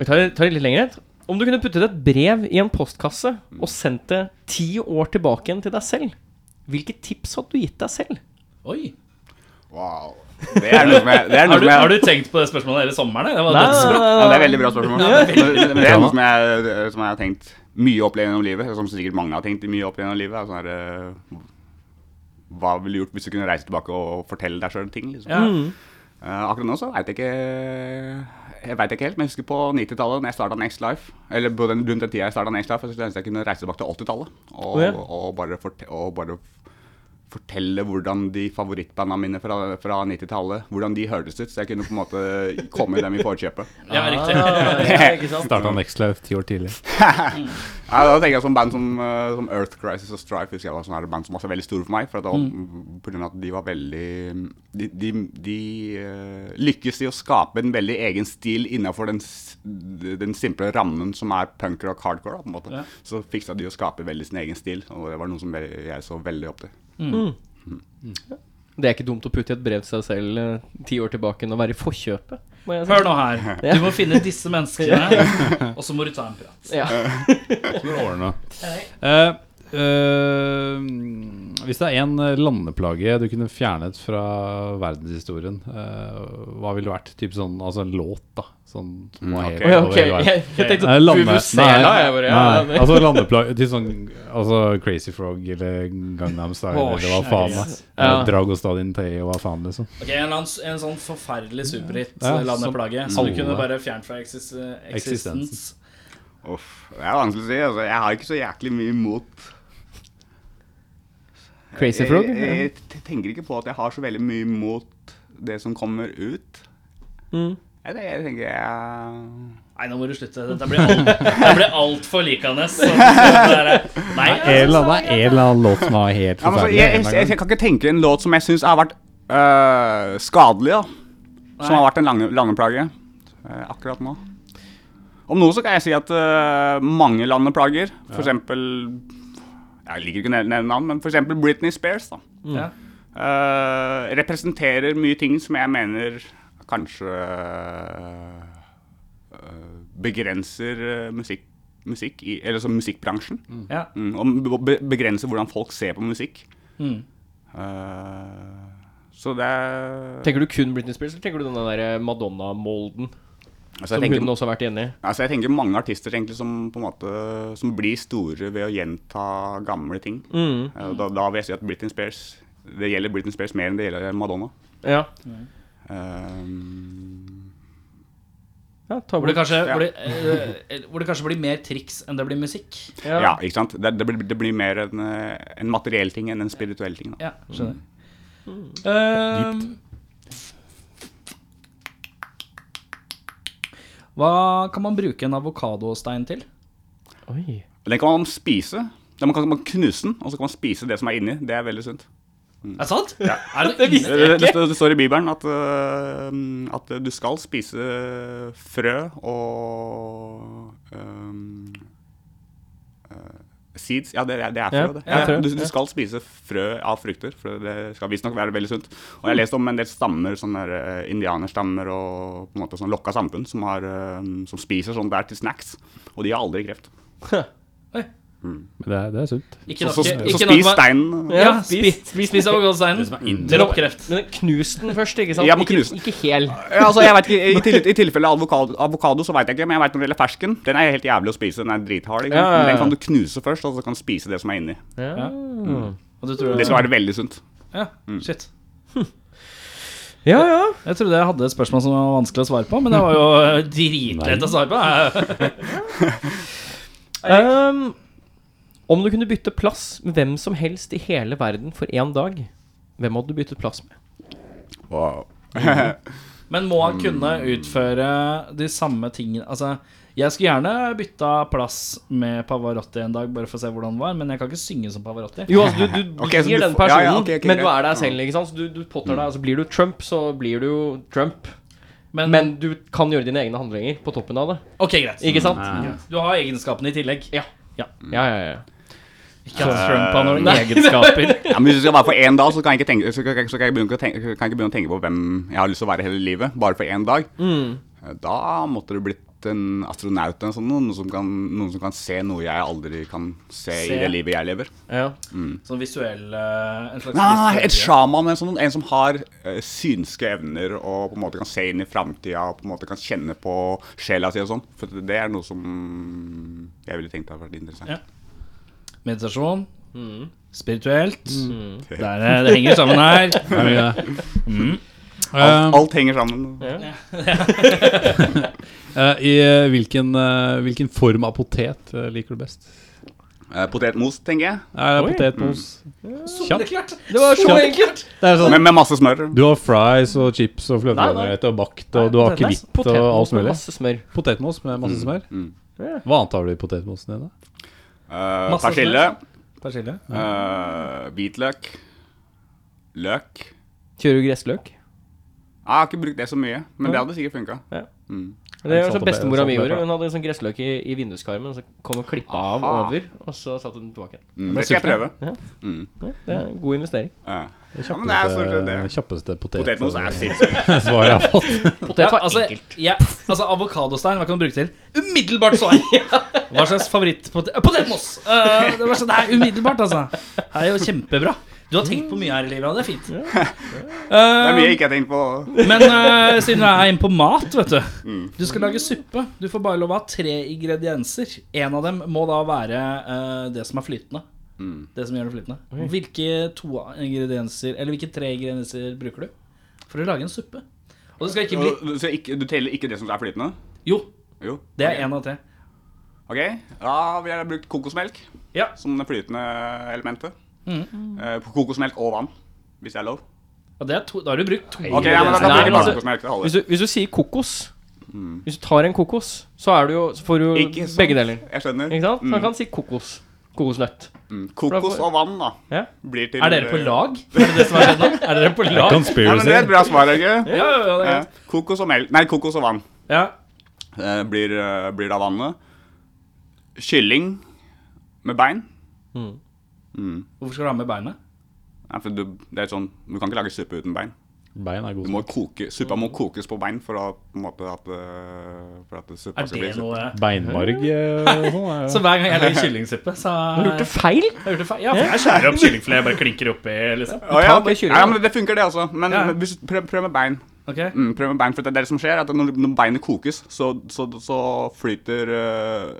vi tar, tar det litt lenger. Om du kunne puttet et brev i en postkasse Mm. og sendt det ti år tilbake igjen til deg selv, hvilke tips hadde du gitt deg selv? Oi. Wow. Det er noe som jeg, det er noe Har du, som jeg har du tenkt på det spørsmålet hele sommeren? eller? Det var Nei, dødsbra. Ja, det er veldig bra spørsmål. Men Det er noe som jeg, som jeg har tenkt mye opp gjennom livet, som sikkert mange har tenkt mye opp gjennom livet. er Sånn her, eh, hva ville du gjort hvis du kunne reise tilbake og fortelle deg sjøl ting? Liksom. Ja. Eh, akkurat nå så veit jeg ikke Jeg vet ikke helt, men jeg husker på 90-tallet, da jeg starta Next Life Eller på den, rundt den tida jeg starta Next Life, så syntes jeg nesten jeg kunne reise tilbake til 80-tallet. Å, Og, ja. og, bare forte- og bare fortelle hvordan de favorittbanda mine fra, fra 90-tallet Hvordan de hørtes ut. Så jeg kunne på en måte komme dem i forkjøpet. Ja, riktig. Starta Next Life ti år tidlig. Ja, da tenker jeg som band som, eh, som Earth Crisis og Strife husker jeg var sånne her band som også er veldig store for meg. For at det var, på grunn av at de var veldig De, de, de eh, lykkes i å skape en veldig egen stil innafor den, s- den simple rammen som er punkrock hardcore. da, på en måte. Ja. Så fiksa de å skape veldig sin egen stil, og det var noe som ve- jeg så veldig opp til. Det er ikke dumt å putte i et brev til seg selv eh, ti år tilbake igjen og være i forkjøpet. Må jeg si. Hør nå her. Du må finne disse menneskene, og så må du ta en prat. Ja. Eh, eh, hvis det er én landeplage du kunne fjernet fra verdenshistorien, eh, hva ville det vært? Typ sånn, altså en låt, da. Sånn, som var helt Mm, ok. over Ok, hele verden. jeg, jeg tenkte sånn, Nei, lande- Vuvuzela, Eh, nei, jeg bare, ja, nei, altså landeplage Til sånn altså Crazy Frog eller Gangnam Style Åh, eller hva faen. da. shit. Ja. Eh, Dragostadin Tei og hva faen, liksom. Ok, En, eller annen, s- en sånn forferdelig eh, Ja, som superhit-landeplage som du alle. kunne bare fjernet fra eksis eksistens. Uff, det er vanskelig å si. altså. Jeg har ikke så jæklig mye imot Crazy Frog? Jeg, Eh, jeg, t- tenker ikke på at jeg har så veldig mye imot det som kommer ut. Mm. Jeg, jeg eh, tenker jeg Nei, nå må du slutte. Dette blir alt- dette blir altfor likende. så- så det er- Nei, En eller annen- det er en eller annen låt som er helt Ja, men altså, forferdelig. en jeg, jeg, eller jeg, annen gang. kan ikke tenke en låt som jeg syns har vært øh, skadelig, da. Som har vært en lange, landeplage øh, akkurat nå. Om noe så kan jeg si at øh, mange landeplager, for eksempel Jeg liker ikke å nevne nevne navn, men for eksempel Britney Spears, da. Ja. øh, representerer mye ting som jeg mener kanskje øh, øh, begrenser øh, musikk, musikk i, eller altså musikkbransjen. Ja. Mm, og be- be begrense hvordan folk ser på musikk. Mm. Eh, så det er Tenker du kun Britney Spears, eller tenker du den der eh, Madonna-molden altså, som jeg tenker, hun også har vært inne i? altså, jeg tenker mange artister egentlig som på en måte Som blir store ved å gjenta gamle ting. Mm. Eh, da, da vil jeg si at Britney Spears Det gjelder Britney Spears mer enn det gjelder Madonna. Ja. Eh, ja ta Hvor det, bort. kanskje, hvor, det, eh, hvor det kanskje blir mer triks enn det blir musikk. Ja. ja, ikke sant? Det, det, blir, det blir mer en, eh, en materiell ting enn en spirituell ting. Da. Ja, skjønner. Mm. Ehm, hva kan man bruke en avokadostein til? Oi. Den kan man spise. Den man kan man knuse den, og så kan man spise det som er inni. Det er veldig sunt. Er det sant? Er det, Det, det, det, står- det står i Bibelen at, øh, at du skal spise frø og øhm, øh, Seeds? Ja, det, er- det er frø, Ja, det. det er Ja, frø, du, ja. du skal spise frø av frukter, for det skal visstnok være veldig sunt. Og jeg har lest om en del stammer, sånne der, øh, indianerstammer og på en måte sånn lokka eh, sånn samfunn, som, har, øhm, som spiser sånt der til snacks, og de har aldri kreft. Oi. Men det er, det er sunt. Ikke Så, nok så, ikke så nok spis med- steinen. Ja, spis, spis, spis avgålsteinen. Dropp kreft. Men knus den først, ikke sant? Ja, må ikke, knuse den. ikke hel. Ja, altså, jeg vet ikke, I, til, i tilfelle avokado, avokado så veit jeg ikke, men jeg vet når det gjelder fersken. Den er helt jævlig å spise. Den er drithard. Ikke? sant? Ja, ja, ja. Men Den kan du knuse først, og så kan du spise det som er inni. Ja. Og du tror Det skal være veldig sunt. Ja, shit. ja, ja. Jeg trodde jeg hadde et spørsmål som var vanskelig å svare på, men det var jo eh, dritlett å svare på. Ehm, om du kunne bytte plass med hvem som helst i hele verden for én dag, hvem hadde du byttet plass med? Wow. Men må Mm. han kunne utføre de samme tingene Altså, jeg skulle gjerne bytta plass med Pavarotti en dag, bare for å se hvordan det var, men jeg kan ikke synge som Pavarotti. Jo, altså, du, du Ok, så blir du den får- ja, personen, ja, ok, ok, men du greit. Mm. er deg selv. ikke sant? Så du, du påtar deg, altså Blir du Trump, så blir du jo Trump. Men, Men du kan gjøre dine egne handlinger på toppen av det. ok, greit. Mm. Ikke sant? Mm. Du har egenskapene i tillegg. Ja. Ja, ja, ja. Ikke at Trump har noen egenskaper. Ja, men hvis det skal være for én dag, så kan jeg ikke, tenke, så kan, jeg- så kan jeg begynne, å tenke, kan jeg ikke begynne å tenke på hvem jeg har lyst til å være hele livet. Bare for én dag. Mm. Eh, Da måtte det blitt en astronaut eller sånn, noen, som kan, noen som kan se noe jeg aldri kan se, Se. i det livet jeg lever. ja. Sånn visuell eh, En slags Nei, Ah, nei, nei, Ah, et visuell- sjaman, en, sånn, en som har eh, synske evner og på en måte kan se inn i framtida og på en måte kan kjenne på sjela si og sånn. For det er noe som jeg ville tenkt hadde vært interessant. Ja. Meditasjon. Mm. Spirituelt. Mm. Det, er, det henger sammen her. Um, Alt, alt henger sammen. Eh, I eh, hvilken, eh, hvilken form av potet eh, liker du best? Eh, potetmos, tenker jeg. Er det potetmos? Mm. Sånn Kjapt. Det var så enkelt! Det er sånn Med, med masse smør. Du har fries og chips og fløtegrøt og bakt og du har Nei, akevitt og alt med mulig. masse smør. Potetmos med masse smør. mm. Hva annet har du i potetmosen din, da? Eh, Masse persille. Persille. eh, hvitløk. Løk. Kjører du gressløk? Jeg har ikke brukt det så mye, men det hadde sikkert funka. Ja. Mm. Det var sant, sånn det- bestemora sant, mi det er gjorde. bra. Hun hadde en sånn gressløk i, i vinduskarmen, så kom og klippa av Aha. over, og så satte hun den tilbake. igjen. Mm, det skal jeg prøve. Ja, Det er en god investering. Eh, Det Ja, men det er stort sett kjappeste, det. eh, kjappeste Potetmos er potet- sinnssykt. svaret jeg har fått. Potet var altså, enkelt. ja, altså, avokadostein, hva kan du bruke til? Umiddelbart svar! Hva slags favorittpotet... eh, Potetmos! Eh, det, var sånn, det er umiddelbart, altså. Det er jo kjempebra. Du har tenkt på mye her i livet, og det er fint. Det er Eh, mye jeg ikke Mm. har tenkt på. men eh, siden du er inne på mat, vet du Du skal lage suppe. Du får bare lov å ha tre ingredienser. En av dem må da være eh, det som er flytende. Mm. Det som gjør det flytende. Hvilke to ingredienser Eller hvilke tre ingredienser bruker du for å lage en suppe? Og det skal ikke bli Så, så ikke, du teller ikke det som er flytende? Jo, Jo. det ok. er én av tre. Ok, da vil jeg ha brukt kokosmelk Ja. som det flytende elementet. Eh, på kokosmelk og vann, hvis det er lov. Ja, det er to, da har du brukt to Ok, ja, men Nei, da kan jeg men ikke bare altså- kokosmelk, det Hvis holder. du, hvis du sier kokos Hvis du tar en kokos, så, er du jo, så får du jo Ikke sant? Mm. begge deler. Jeg skjønner. Ikke sant? Så man kan si kokos. Kokosnøtt. Mm. Kokos og vann, da. Ja. Blir til Er dere på lag? Er det det som er skjedd nå? Er dere på lag? Ja, men det er Conspiracy. et bra svar, ikke? Ja, ja, ja, det er Ja. greit. Kokos og melk Nei, kokos og vann ja. eh, blir, eh, blir da vannet. Kylling med bein. Hvorfor skal du ha med beinet? Nei, for du, det er sånn, du kan ikke lage suppe uten bein. Bein er Du god. må koke, suppa må kokes på bein for å på en måte at, eh, for at suppa Er skal bli det suppe. noe sånn- Beinmarg eh, og sånn. er jo- Så hver gang jeg lager kyllingsuppe, så Har du gjort det feil? Jeg har gjort det feil. Ja, for jeg skjærer opp kyllingfilet jeg bare klinker oppi, liksom. Å, ja, Ta bare ok. kylling, da. ja, men det funker, det også. Men Ja. men hvis, prøv, prøv med bein. Ok, Mm, prøv med bein, for det er det som skjer, at når, når beinet kokes, så, så, så flyter øh,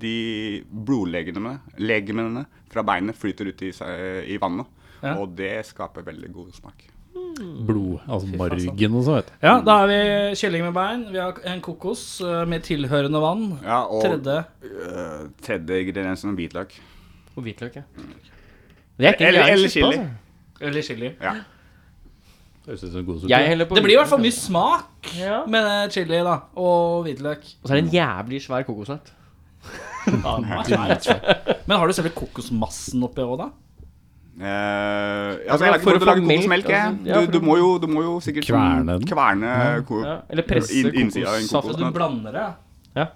de blodlegemene legemene fra beinet flyter ut i, seg- i vannet. Ja. Og det skaper veldig god smak. Blod. Altså margen og sånn, vet du. ja, Da har vi kylling med bein, vi har en kokos eh, med tilhørende vann. Ja, og Tredje øh, tredje ingrediensen er hvitløk. Og hvitløk, ja. Det er ikke en Eller- gæren eller suppe, chili. altså. Eller chili. Høres ut som en god suppe. Jeg heller på Det blir i hvert fall mye smak Ja. med eh, chili da, og hvitløk. Og så er det en jævlig svær kokosnøtt. Men har du selve kokosmassen oppi òg, da? Eh, for- altså, jeg vet for ikke å hvordan du få lager kokosmelk. melk, jeg. altså. Ja, Du, for du, å- må jo, du må jo sikkert Kverne den. kverne ko Ja. Eller presse inn- innsida av en kokossaft. Så du kokosnøtt. blander det? Ja.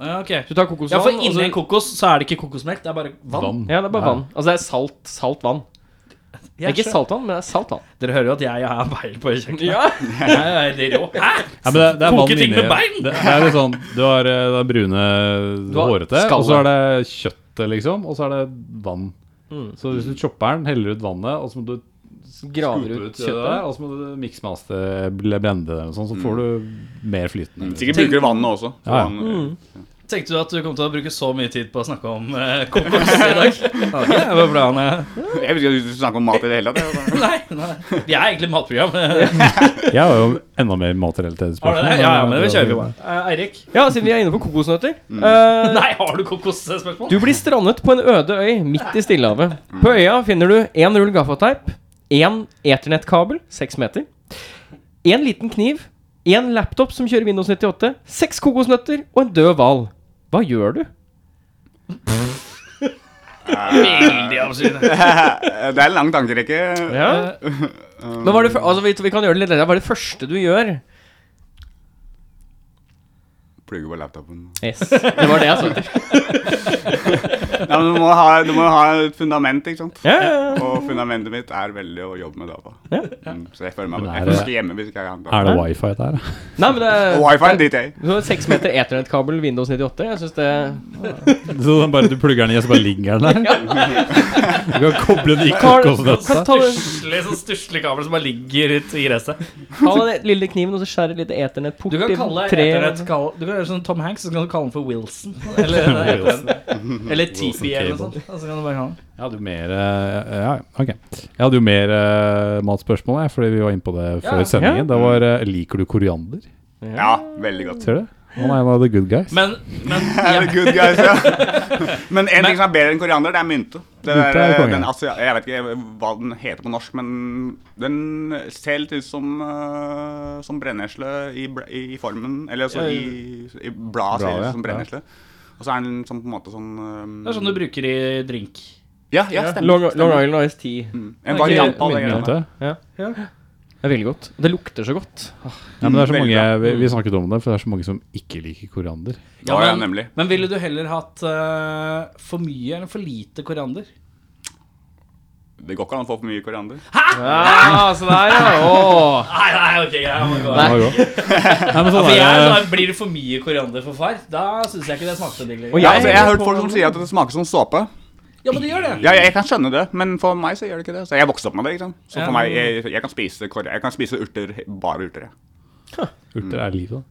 Ja, ok. Du tar kokosvann, Ja, for og så- inni en kokos så er det ikke kokosmelk, det er bare vann. Vann. Ja, det er bare vann. Altså, det er salt, salt vann. Det er Jeg ikke skjønner. saltvann, men det er salt vann. Dere hører jo at jeg har beil på kjøkkenet. Jeg er helt rå. Hæ? Ja, men det, det er Koke vann ting inni- med bein? Det, det er litt sånn Du har eh, det brune, Du har hårete, og så skallet. er det kjøttet ofte, liksom. Og så er det vann. Mm. Så hvis du chopper den, heller ut vannet, og så må du Graver scope ut det der, kjøttet. og så må du miksmaste, blende det, og sånn, så Mm. får du mer flytende. Sikkert bruker du vannet også. så Ja, ja. vann- Mm. Tenkte du at du kom til å bruke så mye tid på å snakke om eh, kokos i dag? Ja, det var bra, Anne. Jeg visste ikke at du skulle snakke om mat i det hele tatt. jeg. Nei, altså. nei. Vi er egentlig et matprogram. Jeg har jo enda mer matrelaterte Har du spørsmål. det? Ja, ja, men det kjører vi bare. Eh, Eirik? Ja, siden vi er inne på kokosnøtter. Eh, Nei, har du kokosspørsmål? Du blir strandet på en øde øy midt i Stillehavet. På øya finner du én rull gaffateip, én eternettkabel, seks meter, én liten kniv, én laptop som kjører Windows 98, seks kokosnøtter og en død hval. Hva gjør du? Veldig absurd. Det er en lang tankerekke. Eh, Men var det, fø- altså, vi, vi kan gjøre det litt lettere. Hva er det første du gjør? Plugger på laptopen. Yes, Det var det jeg sa. Ja, men du må ha, du må ha et fundament, ikke sant. Ja, ja, ja. Og fundamentet mitt er veldig å jobbe med data. Mm, så jeg føler meg Men er jeg det- føler meg hjemme hvis ikke jeg har data. Er det wifi der? Nei, men det Og wifi er dritt, jeg. Du har Seks meter eternettkabel, Windows 98. Jeg synes det Så den bare, du plugger den i, og så bare ligger den der? Du kan koble den i Karl, kokosnøtta. kan ta, den- Stusslig, sånn stusslig kabel som bare ligger ut i gresset. ta den lille kniven og så skjære litt eternett-port Du kan kalle tre- eternett kall- Du kan gjøre sånn Tom Hanks, så kan du kalle den for Wilson. Eller, eller Tipi eller noe sånt. og Så kan du bare kalle den. Jeg hadde jo mer eh, ja, ok. Jeg hadde jo mer eh, matspørsmål, jeg, fordi vi var inne på det før sendingen. Det var eh, Liker du koriander? Ja, veldig godt. Ser du? Han er en av the good guys. Men, men Er det good guys, ja. Men en ting som er bedre enn koriander, det er mynte. Det Mynte der, er konge. den asia jeg vet ikke hva den heter på norsk, men den ser litt ut som, eh, som brennesle i, bl- i formen. Eller altså i, i bladet ser Bladet, det ja. ut som brennesle. Og så er den sånn, på en måte sånn eh, det er sånn du bruker i drink. Ja, ja, stemmer. Long, Long Island Ice Tea. En variant av det. Mynte. greiene. Det er veldig godt. Det lukter så godt. Ja, men det er så Veldig mange, bra. Mm. vi, vi snakket om det, for det er så mange som ikke liker koriander. Ja, ja, nemlig. men ville du heller hatt eh, for mye eller for lite koriander? Det går ikke an å få for mye koriander. Ja, se der, ja. Åh. Nei, nei, ok, jeg må gå. Det var godt. Nei, men sånn For er jeg, det. da blir det for mye koriander for far, da syns jeg ikke det smakte digg lenger. Og Ja, altså, jeg har hørt folk som sier at det smaker som såpe. Ja, men det gjør det. Ja, jeg kan skjønne det, men for meg så gjør det ikke det. Så jeg vokste opp med det, ikke sant. Så Ja. for meg, jeg, jeg kan spise kor- Jeg kan spise urter, bare urter, jeg. Urter er livet, da.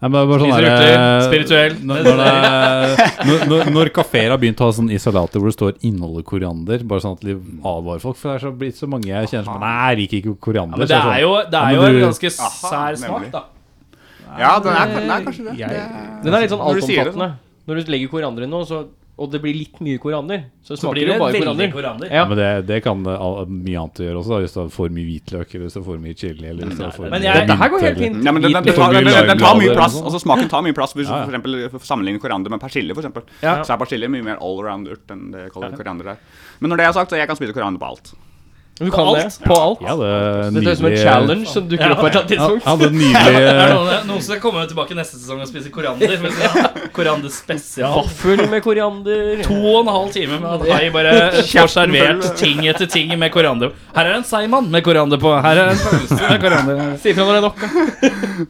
Nei, men det er bare sånn sånn- Spiser der, urter, eh, spirituell. Når, når, det er- når- når, når kaféer har begynt å ha sånn isolater hvor det står 'inneholder koriander', bare sånn at de advarer folk For det er så blitt så mange jeg kjenner som Nei, jeg liker ikke koriander. Men Så det sånn, er jo, det Ja, er men jo en du- ganske Aha, sær smak, nemlig. da. Ja, den er, den er kanskje det. jeg, det Den er litt sånn Når du sier det, altomfattende. Når du legger koriander i noe, så, og det blir litt mye koriander, så Så smaker blir det det jo bare veldig koriander. koriander. Ja. Men det, det kan det all- mye annet gjøre også, da, hvis du har for mye hvitløk eller hvis du har for mye chili. Eller hvis du har for men mye jeg- Dette her går helt mynte, eller- fint. Nei, men den, den, den, For tar, mye den, den, den tar mye laglade plass. og sånn. Altså Smaken tar mye plass. Hvis du Ja, ja. for eksempel sammenligner koriander med persille, for eksempel, så er persille mye mer allround-urt enn det kaller koriander der. Men når det er sagt, så jeg kan spise koriander på alt. Du kan det. På alt. Ja, det Dette er som en challenge som dukker opp på et eller annet tidspunkt. Ja, det Det er nydelige noen, noen som kommer tilbake neste sesong og spiser koriander. men så- Koriander spesial. Full med koriander. To og en halv time med at jeg bare får servert ting etter ting med koriander. Her er en seigmann med koriander på. Her er en pølse med koriander. Si ifra når det er nok. da.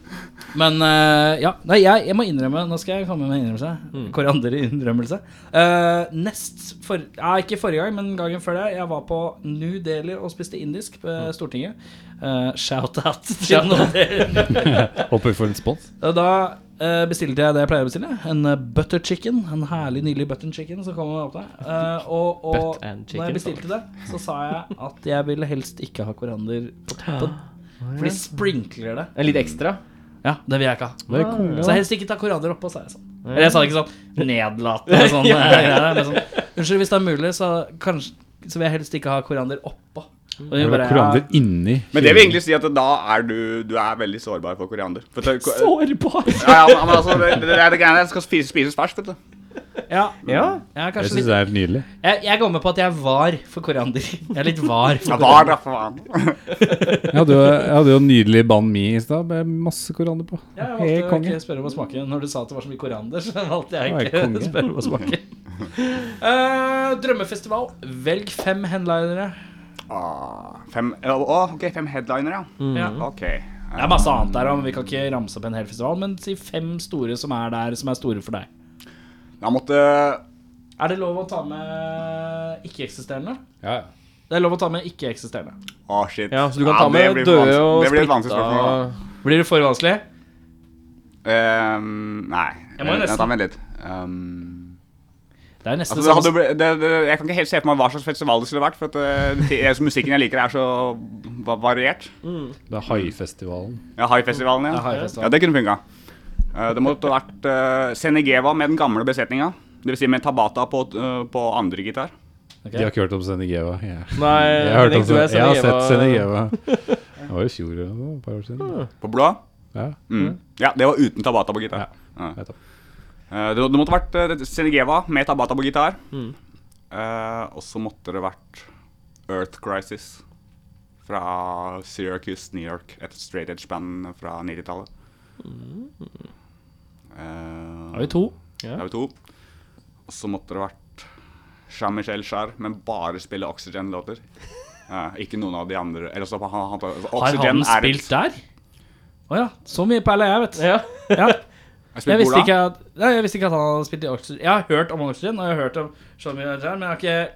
Men eh, ja, nei, jeg, jeg må innrømme Nå skal jeg komme med en innrømmelse. Mm. Korianderinnrømmelse. Eh, nest for, ja, Ikke forrige gang, men gangen før det. Jeg var på New Delhi og spiste indisk på Mm. Stortinget. Eh, Shout-out til New Delhi. Håper vi får en respons. Og Da eh, bestilte jeg det jeg pleier å bestille. En eh, butter chicken. En herlig, nydelig butter chicken som kommer opp der. Eh, og og Butt and når jeg chicken, bestilte det, så sa jeg at jeg ville helst ikke ha koriander på toppen. For de sprinkler det. En litt ekstra. Ja, det vil jeg ikke ha. Det er konge. Så helst ikke ta koriander oppå, sa jeg sånn. Eller jeg sa det ikke sånn nedlatende og sånn. eh, greier, men sånn. Unnskyld, hvis det er mulig, så, kanskje, så vil jeg helst ikke ha koriander oppå. Og de Det bare, er ja. Koriander inni Men det vil egentlig si at da er du, du er veldig sårbar for koriander. For det, ja, Sårbar! ja, men, men altså, det, det er det greiene der. Det skal spise- spises ferskt, vet du. Ja, Ja. jeg er Jeg kanskje syns litt det er helt nydelig. jeg, jeg går med på at jeg er var for koriander. Jeg er litt var for Ja, koriander. var da, faen. Jeg hadde jo, jeg hadde jo en nydelig ban mi i stad med masse koriander på. Ja, Jeg Helt valgte å konge. ikke spørre om å smake. Når du sa at det var så mye koriander, så valgte Ja, jeg ikke jeg er å konge. spørre om å smake. Eh, drømmefestival. Velg fem headlinere. Ah, fem, å, å, ok, fem headliner, ja. Mm. Ja. Ok. Det er masse annet der, og vi kan ikke ramse opp en hel festival, men si fem store som er der, som er store for deg. Da måtte eh, Er det lov å ta med ikke-eksisterende? Ja, ja. Det er lov å ta med ikke-eksisterende. Å, shit. Ja, så du kan Ja, ta det med blir døde vanskelig- og Det blir et vanskelig splitta spørsmål. da. Blir det for vanskelig? Ehm, nei. Jeg må jo nesten- Vent, da, vent litt. Ehm, Det er nesten altså, det hadde, sånn blitt- det, det, jeg kan ikke helt se for meg hva slags festival det skulle vært. For at, eh, det- jeg- musikken jeg liker, er så va- variert. Det er Haifestivalen. Ja, Haifestivalen, ja. Haifestivalen. ja. Det kunne funka. Eh, det måtte vært uh, Senegeva med den gamle besetninga. Dvs. Si med Tabata på, eh, på andre gitar. Ok. De har ikke hørt om Senegeva. Ja. Nei, Jeg, har hørt om Henning, du er Sen- jeg har Senegeva. sett Senegeva. Det var i fjor eller noe, et par år siden. På blå. Ja, Mm. Ja, det var uten Tabata på gitar. Ja. nettopp. Eh, det, det måtte vært eh, Senegeva med Tabata på gitar. Mm. Eh, og så måtte det vært Earth Crisis fra Syracuse, New York. Et straight edge-band fra 90-tallet. Eh, Da Mm. har vi to. da Eh, har vi to. Og så måtte det vært Jean-Michel Jarre, men bare spille Oxygen-låter. Eh, ikke noen av de andre eller, så, han, han, Har Oxygen han er et- spilt der? Å ja. Så mye perler jeg, vet Ja. Ja. Jeg Jeg spilte hvor visste da? ikke at, nei, jeg visste ikke at han hadde spilt i Oxygen. Jeg har hørt om Oxygen, og jeg har hørt om Sean Mendes her, men jeg har ikke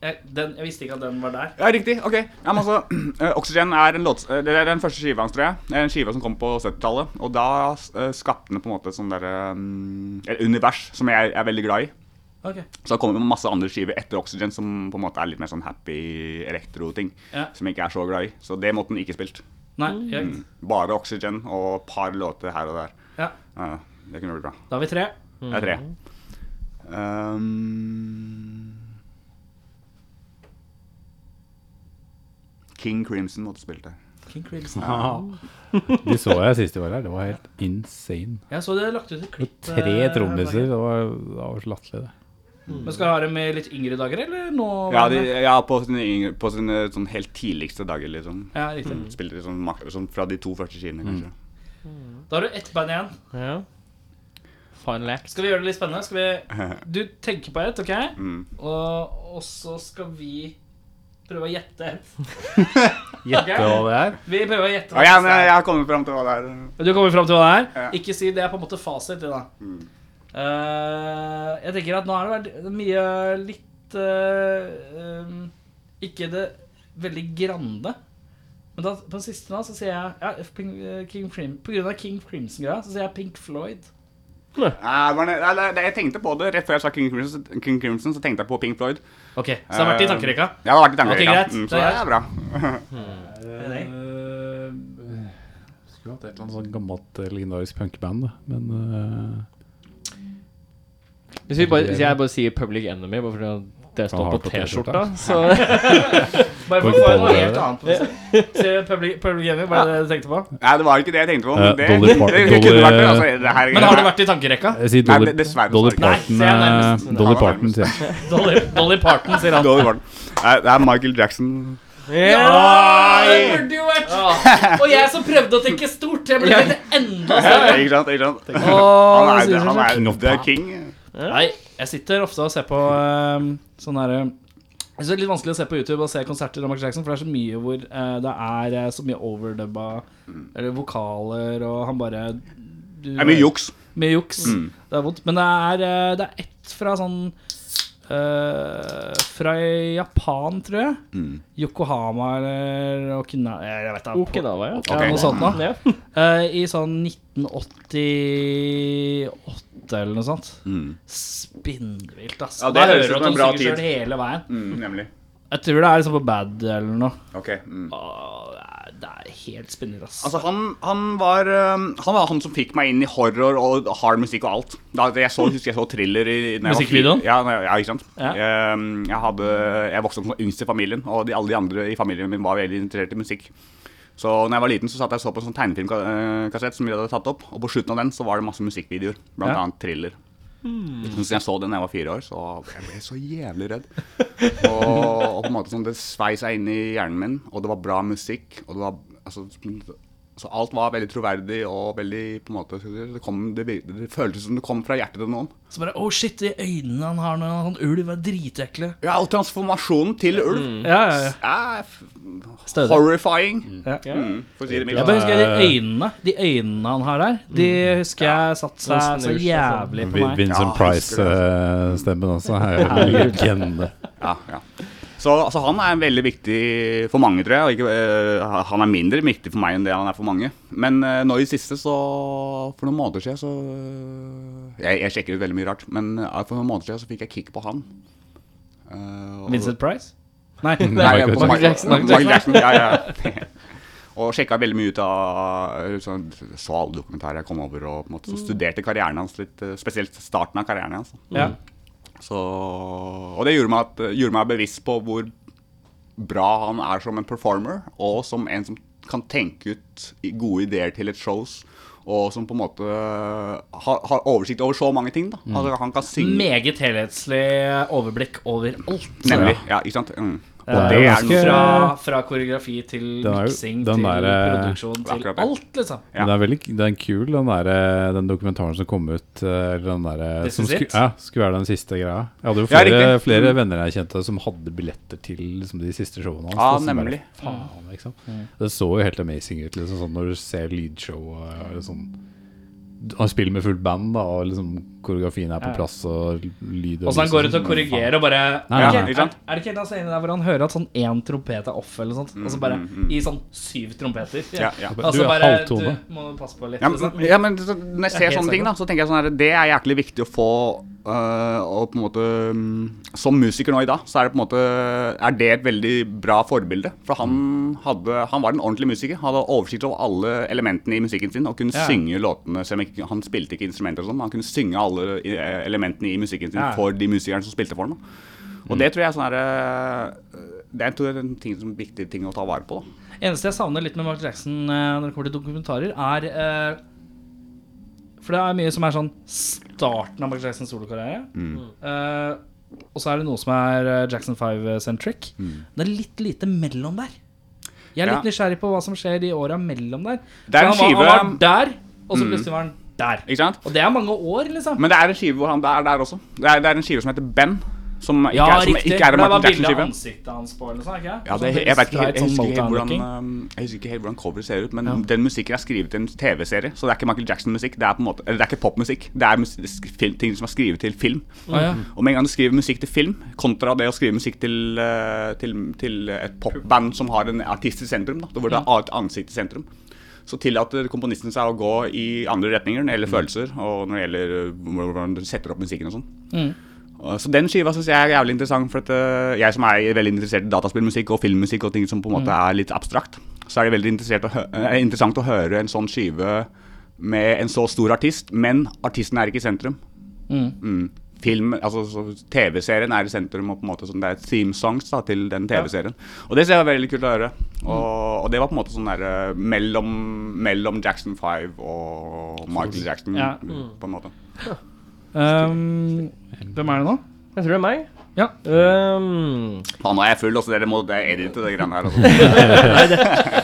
jeg, den, jeg visste ikke at den var der. Ja, riktig. Ok. Ja, men altså, eh, Oxygen er, en låt, eh, det er den første skiva hans, tror jeg. Det er En skive som kom på 70-tallet. Og da eh, skapte den på en måte sånn derre mm, Et univers som jeg er veldig glad i. Ok. Så det kommer det masse andre skiver etter Oxygen som på en måte er litt mer sånn happy elektro-ting. Ja. Som jeg ikke er så glad i. Så det måtte den ikke spilt. Nei, greit. Bare Oxygen og et par låter her og der. Ja. Ja, det kunne blitt bra. Da har vi tre. Det er tre. Um, King Crimson måtte spilt der. King Crimson. De så jeg sist de var her. Det var helt insane. Jeg så det lagt ut et klipp. Tre eh, trommiser. her om Det var, det var så latterlig, det. dagen. Men skal ha dem i litt yngre dager, eller nå? Ja, de, ja på sine, yngre- på sine sånn helt tidligste dager, liksom. Ja, riktig. Spilte litt sånn, mak- sånn fra de to første skivene, kanskje. Da har du ett band igjen. ja. Final act. Skal vi gjøre det litt spennende? Skal vi Du tenker på et, OK? Mm. Og, og så skal vi prøve å gjette et. Gjette hva det er. Vi prøver å gjette. Ja, ja, men jeg har kommet fram til hva det er. Du kommer frem til hva det er? Ja. Mm. Ikke si det er på en måte fasit. det da. Eh, jeg tenker at nå har det vært mye litt eh, um, Ikke det veldig grande. Men da, på den siste nå så sier jeg ja, F- Pink, eh, King Crim, På grunn av King Crimson-greia så sier jeg Pink Floyd. Nei, men, nei, nei, nei, jeg tenkte på det rett før jeg sa King Crimson, så- King Crimson så tenkte jeg på Pink Floyd. Ok, Så det har vært i tankerekka. Ja, det har vært i Ok, tankerekka. greit. Mm, Det så er det er bra. Eh, Skulle hatt et eller annet sånn gammelt eh, legendarisk punkeband, da. Men eh, Hvis, vi bare, hvis jeg bare sier Public Enemy bare fordi det Han står har på på T-skjorta, T-skjorta. så Bare for å få noe helt annet på seg. Sier Public Public Enemy, var det det du tenkte på? Nei, det var ikke det jeg tenkte på. Eh, Men det, Dolly Parton- det, det kunne Dolly- vært det. Altså, det her, Men har det vært i tankerekka? Jeg sier Nei, Dolly, det- dessverre, Dolly dessverre. Nei, Parton. se, jeg er eh, nærmest. Dolly Han var Parton, nærmest. sier jeg. Dolly, Dolly Parton, sier han. Dolly Parton. Nei, det er Michael Jackson. Ja, det burde jo vært Og jeg som prøvde å tenke stort. Jeg ble litt enda Ja, større. ikke sant? ikke sant? Åh, Han er, sier han seg er, King of det er pop. king. Nei, jeg sitter ofte og ser på um, sånn herre jeg synes Det er litt vanskelig å se på YouTube og se konserter av Michael Jackson, for det er så mye hvor eh, det er eh, så mye overdubba Eller vokaler, og han bare du, Mm. Det er mye juks. Mye juks. Mm. Det er vondt. Men det er, eh, det er ett fra sånn eh, Fra Japan, tror jeg. Mm. Yokohama eller Okina... eh, Jeg vet da. Okinawa, ja. Ja, Ok. noe sånt nå. Ja. Eh, I sånn 1988 eller noe sånt. Spinnvilt, ass. Mm. Da Ja, det hører høres ut du som at en de bra synger tid. selv hele veien. Mm, nemlig. Jeg tror det er liksom på Bad eller noe. Ok. Mm. Åh, det er- det er helt spinnvilt, ass. Altså, han, han, var, um, han var han som fikk meg inn i horror og hard musikk og alt. Da, jeg så, husker jeg så thriller i når jeg var Musikkvideoen? fire- Ja, når jeg- ja, ikke sant. Ja. Jeg, um, jeg, hadde, jeg vokste opp som yngst i familien, og de, alle de andre i familien min var veldig interessert i musikk. Så når jeg var liten, så satt jeg og så på en sånn tegnefilmkassett som vi hadde tatt opp. Og på slutten av den så var det masse musikkvideoer, blant Ja. annet thriller. Så når jeg så den da jeg var fire år, så jeg ble jeg så jævlig redd. Og, og på en måte sånn, det svei seg inn i hjernen min, og det var bra musikk. Og det var altså, Så alt var veldig troverdig og veldig på en måte, det, kom, det, vir- det føltes som det kom fra hjertet til noen. Så bare oh shit, de øynene han har når han ulv, er dritekle. Ja, og transformasjonen til ulv Ja, Mm. ja, ja. er f- Stødig. horrifying, Ja. mm, for å si det Jeg mildt. bare husker de Eh. øynene De øynene han har der, de Mm. husker jeg satt seg så snur altså. seg sånn. jævlig på meg. Vi- Ja, Vincent jeg husker det, Price-stemmen også. Her er jo en legende. Ja, ja. Så altså, han er veldig viktig for mange, tror jeg. Og ikke, eh, han er mindre viktig for meg enn det han er for mange. Men eh, nå i det siste, så For noen måneder siden, så Jeg, jeg sjekker ut veldig mye rart, men eh, for noen måneder siden så fikk jeg kick på han. Eh, Mm. og- Vincent Price? Nei. Nei, Michael på Michael Jackson. Jackson. Michael Jackson, ja, ja. Og sjekka veldig mye ut av sånn, Så alle dokumentarer jeg kom over, og på en måte, så studerte karrieren hans litt. eh, Spesielt starten av karrieren hans. da. Ja. Så, og det gjorde meg, at, eh, gjorde meg bevisst på hvor bra han er som en performer, og som en som kan tenke ut i- gode ideer til et shows, og som på en måte eh, har, har oversikt over så mange ting. da. Altså, han kan synge Meget helhetslig overblikk over alt. Nemlig. Ja, ikke sant? Mm. Og Eh, det er ganske- noe fra, fra koreografi til Den er jo- miksing den til der, eh, produksjon til akkurat det. alt, liksom. Ja. Men det er veldig det er en kul, den, der, eh, den dokumentaren som kom ut. eh, Eller den der, This som is sku, it? ja, skulle være den siste greia. Jeg hadde jo Ja, flere, riktig. Mm. flere venner jeg kjente som hadde billetter til liksom, de siste showene hans. Ja, da, som bare, nemlig. Mm. Faen, liksom. Det så jo helt amazing ut liksom, sånn når du ser lydshow og eller sånn. Han spiller med fullt band, da, og liksom, koreografien er på plass, og lyd Og så han lys går ut sånn. og korrigerer og bare Nei, Er det nei, ikke- ikke sant? Er det ikke helt altså enig der hvor han hører at sånn én trompet er off, eller sånt? Og så bare i sånn syv trompeter. Mm, Ja, ja. Og Du så er bare halvtone. Du må passe på litt. Ja, liksom. men, ja, men så, når jeg Det er ser helt sånne ting, da, så tenker jeg sånn her Det er jæklig viktig å få øh, Og på en måte mm, Som musiker nå i dag, så er det på en måte Er det et veldig bra forbilde. For han, Mm. hadde, han var en ordentlig musiker. Hadde oversikt over alle elementene i musikken sin og kunne Ja. synge låtene selv om ikke- Han spilte ikke instrumenter og sånn, men han kunne synge alle i- eh, elementene i musikken sin Ja. Mm. for de musikerne som spilte for ham. da. Og det tror jeg er sånn her, øh, Det er tror jeg, en ting som, viktig ting å ta vare på. da. Eneste jeg savner litt med Michael Jackson eh, når det kommer til dokumentarer, er eh, For det er mye som er sånn starten av Michael Jacksons solokarriere. Mm. Eh, og så er det noe som er eh, Jackson 5-centric. Det er litt lite mellom der. Jeg er litt Mm. Ja. nysgjerrig på hva som skjer de åra mellom der. Det er en Så han, var, han var skive- der, og så plutselig var han der. Ikke sant? Og det er mange år, liksom. Men det er en skive hvor han er der også. Det er, det er en skive som heter Ben. Som ikke ja, er, som riktig. ikke er for en det var bilde Michael av Jackson-skive. ansiktet hans på, eller noe sånt. ikke? Ja, Sånn det, jeg, vet ikke, streit, helt- jeg, husker sånn ikke helt hvordan, Motown-looking. um, jeg husker ikke helt hvordan coveret ser ut, men den musikken er skrevet til en TV-serie. Så det er ikke Michael Jackson-musikk. Det er på en måte, eller det er ikke popmusikk. Det er mus sk- film, ting som er skrevet til film. Å, ja. Og med en gang du skriver musikk til film, kontra det å skrive musikk til, eh, til, til et popband som har en artist i sentrum, da, hvor det er et ansikt i sentrum, så tillater komponisten seg å gå i andre retninger når det gjelder følelser, og når det gjelder eh, hvordan du setter opp musikken og sånn. Og Så den skiva syns jeg er jævlig interessant, for at øh, jeg som er veldig interessert i dataspillmusikk og filmmusikk og ting som på en måte er litt abstrakt, så er det veldig interessert å hø eh, interessant å høre en sånn skive med en så stor artist, men artisten er ikke i sentrum. Mm. Film, altså så TV-serien er i sentrum, og på en måte sånn, det er theme songs da, til den TV-serien. Og det ser jeg veldig kult å høre. Og, og det var på en måte sånn der øh, mellom, mellom Jackson 5 og Michael Jackson, Ja. på en måte. Um, hvem er det nå? Jeg tror det er meg. Ja. Ehm, Faen, nå er jeg full, altså. Dere må edite det greiene her. Altså.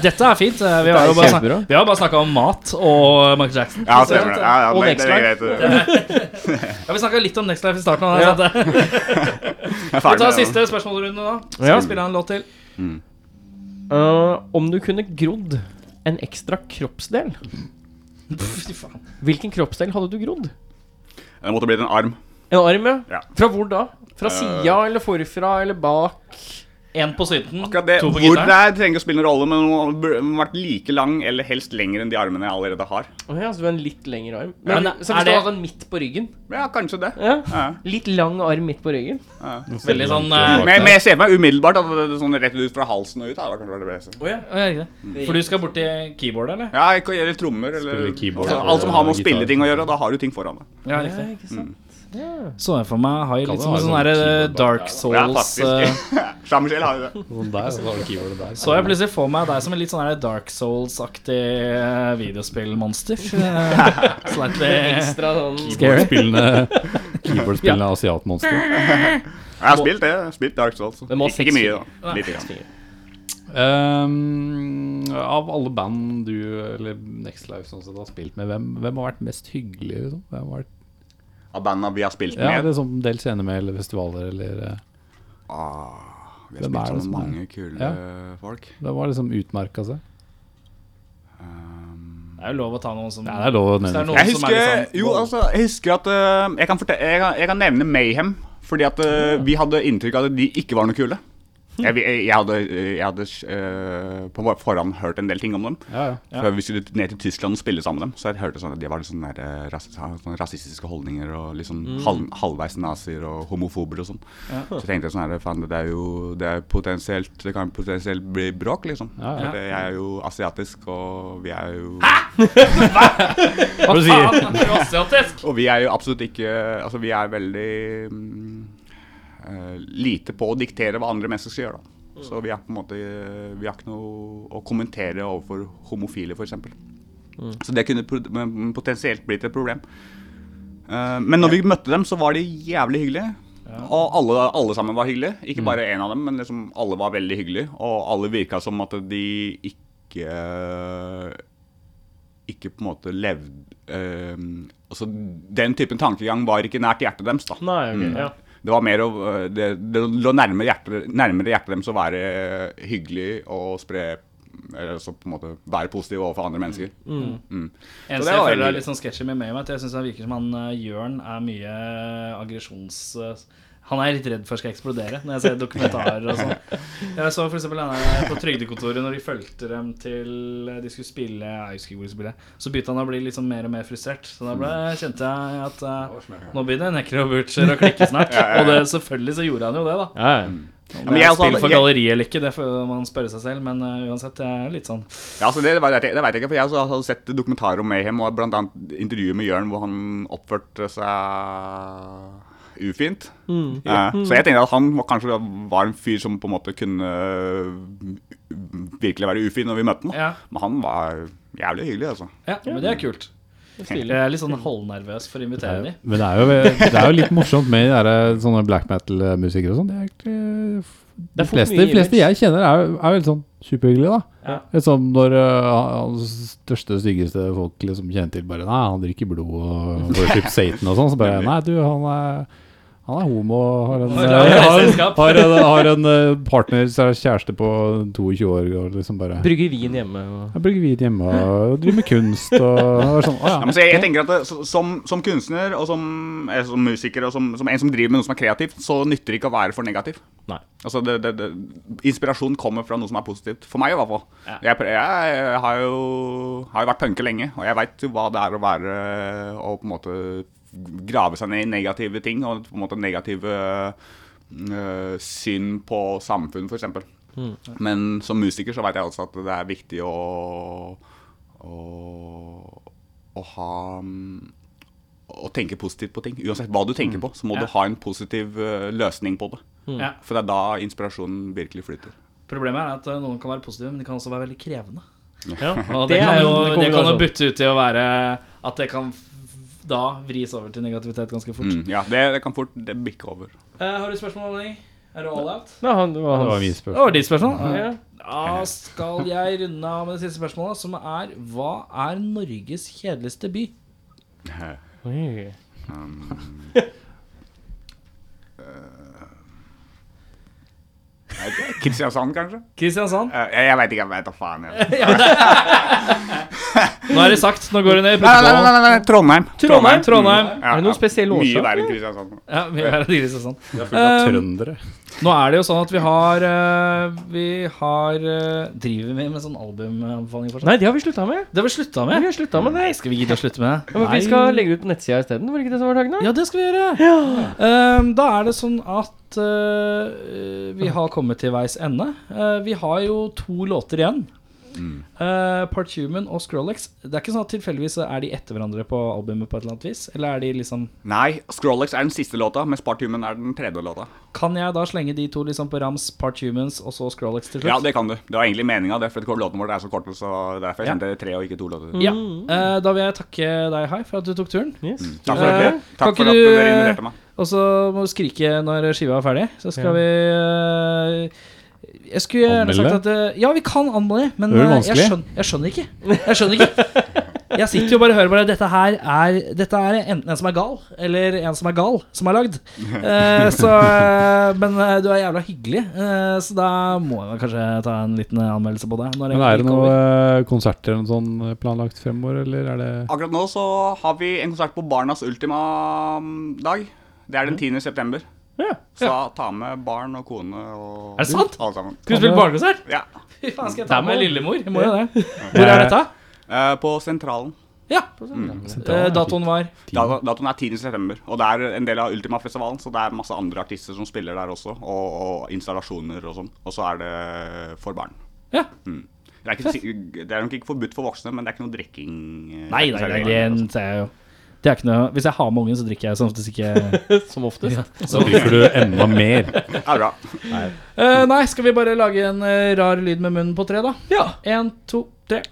Dette er fint. eh, Vi har jo bare, snak kjempebra. vi har bare snakka om mat og Michael Jackson. Ja, stemmer det. Ja, ja, og det- Next det Life. er greit, det. Ja, vi snakka litt om Next Life i starten. av det, sant det? Jeg er ferdig Vi tar med det. siste spørsmålsrunde nå. Skal Ja. vi spille en låt til? eh, om du kunne grodd en ekstra kroppsdel, Fy faen. hvilken kroppsdel hadde du grodd? Det måtte blitt en arm. En arm, ja? Ja. Fra hvor da? Fra sida eller forfra eller bak? Én på syten. Akkurat det, To på Hvor det gitaren. er, trenger ikke å spille noen rolle, men den burde vært like lang eller helst lengre enn de armene jeg allerede har. Å ja, så du har en litt lengre arm. Men, Men er så hvis du det- hadde en midt på ryggen? Ja, kanskje det. Ja. Ja. Litt lang arm midt på ryggen. Veldig sånn eh, Men, men jeg ser for meg umiddelbart at det, er sånn rett ut fra halsen og ut. Da, kanskje det beste. å, ja, ikke det. For du skal bort til keyboardet, eller? Ja, ikke gjøre trommer eller Spille keyboard altså, Alt som har med å eller spille ting å gjøre, da har du ting foran deg. Ja, Ja, riktig. ikke sant? Mm. Så jeg for meg har jeg Kan litt det som en sånn være sånn der, eh, keyboard Dark uh, Ja, Souls eh, faktisk. Jean-Michel har jo det. Sånn der, og så har du keyboardet der. Så jeg plutselig for meg deg som en litt sånn der Dark Souls-aktig eh, videospillmonster. Eh, Slightly Ekstra sånn Keyboardspillende keyboardspillende asiatmonster. Jeg har spilt det. Jeg har spilt Dark Souls. må ha Ikke seks mye, da. Litt. Grann. Ehm, av alle band du eller Next Life sånn sett, har spilt med, hvem, hvem har vært mest hyggelig? Liksom? Hvem har vært, Av bandene vi har spilt ja, med. det er sånn Del scener med, eller festivaler, eller eh, Ah, vi Hvem har er spilt det sammen som med er- mange kule folk. Hvem har liksom utmerka seg? Um, Det er jo lov å ta noen som Ja, det er lov å Hvis det er nevne. noen jeg som er litt husker, liksom sånn- jo, altså, jeg husker at eh, jeg, kan fortelle, jeg, kan, jeg kan nevne Mayhem, fordi at eh, vi hadde inntrykk av at de ikke var noe kule. Jeg, jeg, jeg hadde, jeg hadde eh, på forhånd hørt en del ting om dem. Ja, ja. Før vi skulle ned til Tyskland og spille sammen med dem. Så jeg hørte sånn at de var litt sånn der, eh, ras sånn rasistiske holdninger og litt sånn Mm. hal halvveis nazier og homofober og sånn. Så jeg tenkte jeg sånn her, faen det er jo det, er potensielt, det kan potensielt bli bråk, liksom. Ja, ja. For det- Jeg er jo asiatisk, og vi er jo Hva du sier? Faen, det er asiatisk! Og vi er jo absolutt ikke Altså, vi er veldig mm, eh, lite på å diktere hva andre mennesker skal gjøre, da. Så vi har på en måte eh, Vi har ikke noe å kommentere overfor homofile, f.eks. eksempel Så det kunne pro- men potensielt blitt et problem. Eh, men når vi møtte dem, så var de jævlig hyggelige. Og alle, alle sammen var hyggelige. Ikke bare én av dem, men liksom alle var veldig hyggelige. Og alle virka som at de ikke Ikke på en måte levde eh, Altså, den typen tankegang var ikke nært hjertet deres, da. Nei, ok, Mm. ja. Det var mer å øh, Det, det lå nærmere hjertet, nærmere hjertet deres å være øh, hyggelig og spre eller så på en måte være positiv overfor andre mennesker. Mm. Eneste det jeg var føler er veldig- litt sånn sketchy med Mayhem, er at jeg syns han virker som han eh, Jørn er mye aggresjons... eh, Han er jeg litt redd for skal eksplodere, når jeg ser dokumentarer og sånn. Jeg så for eksempel han her på Trygdekontoret, når de fulgte dem til eh, de skulle spille Ice Cube, skulle spille, så begynte han å bli litt sånn mer og mer frustrert. Så da ble, Mm. kjente jeg at eh, nå begynner Necro Butcher å klikke snart. Og det, selvfølgelig så gjorde han jo det, da. Ja, ja. Om men det jeg er også spill hadde- for jeg- galleriet eller ikke, det får man spørre seg selv, men eh, uansett, det er litt sånn Ja, altså det, det, vet jeg, det vet jeg ikke, for jeg også hadde sett dokumentarer om Mayhem, og blant annet intervjuet med Jørn, hvor han oppførte seg ufint. Mm. Eh, Så jeg tenkte at han var, kanskje var en fyr som på en måte kunne eh, virkelig være ufin når vi møtte ham. Ja. Men han var jævlig hyggelig, altså. Ja, men det er kult. Jeg er litt Mm. sånn halvnervøs for å invitere dem. Eh, Men det er, jo, det er jo litt morsomt med de der, eh, sånne black metal-musikere og sånn. Det er egentlig- Det er De fort fleste, mye de fleste jeg kjenner, er, jo- er veldig sånn superhyggelige, da. Ja. Litt sånn når uh, hans største, styggeste folk liksom kjenner til bare Nei, han drikker blod og worship Satan og sånn. Så bare Nei, du, han er han er homo og har en, eh, er har, selskap. har en, har en uh, partner, så er kjæreste på 22 år og liksom bare Brygger vin hjemme og Jeg bruker hvit hjemme og driver med kunst og, og sånn. Å, Ja, ja. men så jeg, jeg tenker at det, så- som, som kunstner og som, eh, som musiker og som, som en som driver med noe som er kreativt, så nytter det ikke å være for negativ. Nei. Altså, det, det, det, inspirasjon kommer fra noe som er positivt. For meg, i hvert fall. Jeg, prø- jeg har jo har jo vært punker lenge, og jeg veit jo hva det er å være Å på en måte grave seg ned i negative ting, og på en måte negative øh, syn på samfunn, f.eks. eksempel Men som musiker så veit jeg også at det er viktig å å, å ha mm, å tenke positivt på ting. Uansett hva du tenker på, så må du ha en positiv øh, løsning på det. Mm. Ja. For det er da inspirasjonen virkelig flyter. Problemet er at eh, noen kan være positive, men de kan også være veldig krevende. ja. Og det, kan jo, en det kan jo kombinasjon. bytte ut til å være at det kan f- da vris over til negativitet ganske fort. Mm, ja, det, det kan fort det bikke over. Eh, har du spørsmål, Henning? Er du all out? Nei, han, det var Det var hans. mye Det spørsmål. var ditt spørsmål. Ja. Da skal jeg runde av med det siste spørsmålet, som er Hva er Norges kjedeligste by? Eh, Oi. Jeg vet ikke, Kristiansand, kanskje? Kristiansand. Eh, jeg jeg veit ikke. Jeg vet da faen. Jeg. Nei, Nå er det sagt. Nå går det ned i nei, nei, protokollen. nei, nei, Trondheim. Trondheim. Trondheim. Mm, Er det noen spesiell årsak, Mye verre enn Kristiansand. Ja, vi er i Kristiansand. Fullt av Um, trøndere. Nå er det jo sånn at vi har eh, Vi har eh, Driver vi med sånn albumanbefaling fortsatt? Nei, det har vi slutta med. Det har vi slutta Vi med. har slutta med det. Skal vi gidde å slutte med det? Ja, men vi skal legge det ut på nettsida isteden, var det ikke det som var tanken? da? Ja, det skal vi gjøre. Ehm, da er det sånn at eh, vi har kommet til veis ende. Eh, vi har jo to låter igjen. Mm. Eh, Part Human og Skrillex. Det er ikke sånn at tilfeldigvis er de etter hverandre på albumet på et eller annet vis? Eller er de liksom Nei, Skrollex er den siste låta, mens Spartumen er den tredje låta. Kan jeg da slenge de to liksom på rams Part Humans og så Skrillex til slutt? Ja, det kan du. Det var egentlig meninga, det, for låten vår er så kort, så derfor jeg sendte tre og ikke to låter. Ja. Eh, da vil jeg takke deg, Hai, for at du tok turen. Yes. Takk Eh, for, det. kan Takk for ikke at du- dere inviterte meg. Og så må du skrike når skiva er ferdig. Så skal Ja. vi eh, Jeg skulle gjerne sagt Anmelde? at eh, Ja, vi kan anmelde, men Det er jo eh, jeg, vanskelig. skjønner, jeg skjønner ikke. Jeg skjønner ikke Jeg sitter jo bare og hører bare Dette her er Dette er enten en som er gal, eller en som er gal, som er lagd. Eh, så eh, Men eh, du er jævla hyggelig, eh, så da må jeg vel kanskje ta en liten eh, anmeldelse på det. Når jeg Men er det gikk noen over. eh, konserter eller noe sånn eh, planlagt fremover, eller er det Akkurat nå så har vi en konsert på Barnas Ultima-dag. Det Mm. er den 10. september. Ja, Så ta med barn og kone og Er det sant? alle sammen. Skal du spille barnekonsert? Ja. Fy faen, skal jeg Det ta er med med lillemor. Jeg må jo det. Hvor er dette? Eh, på Sentralen. Ja. Eh, datoen var Da- Datoen er 10. september. Og det er en del av Ultima-festivalen, så det er masse andre artister som spiller der også. Og, og installasjoner og sånn. Og så er det for barn. Ja. Mm. Det, er ikke, si- det er nok ikke forbudt for voksne, men det er ikke noe drikking. eh, Nei, nei, nei, det altså. ser jeg jo. Det er ikke noe Hvis jeg har med ungen, så drikker jeg som oftest ikke Som oftest. Så sånn- drikker du enda mer. Det er bra. Eh, Nei, skal vi bare lage en eh, rar lyd med munnen på tre, da? Ja. En, to, tre.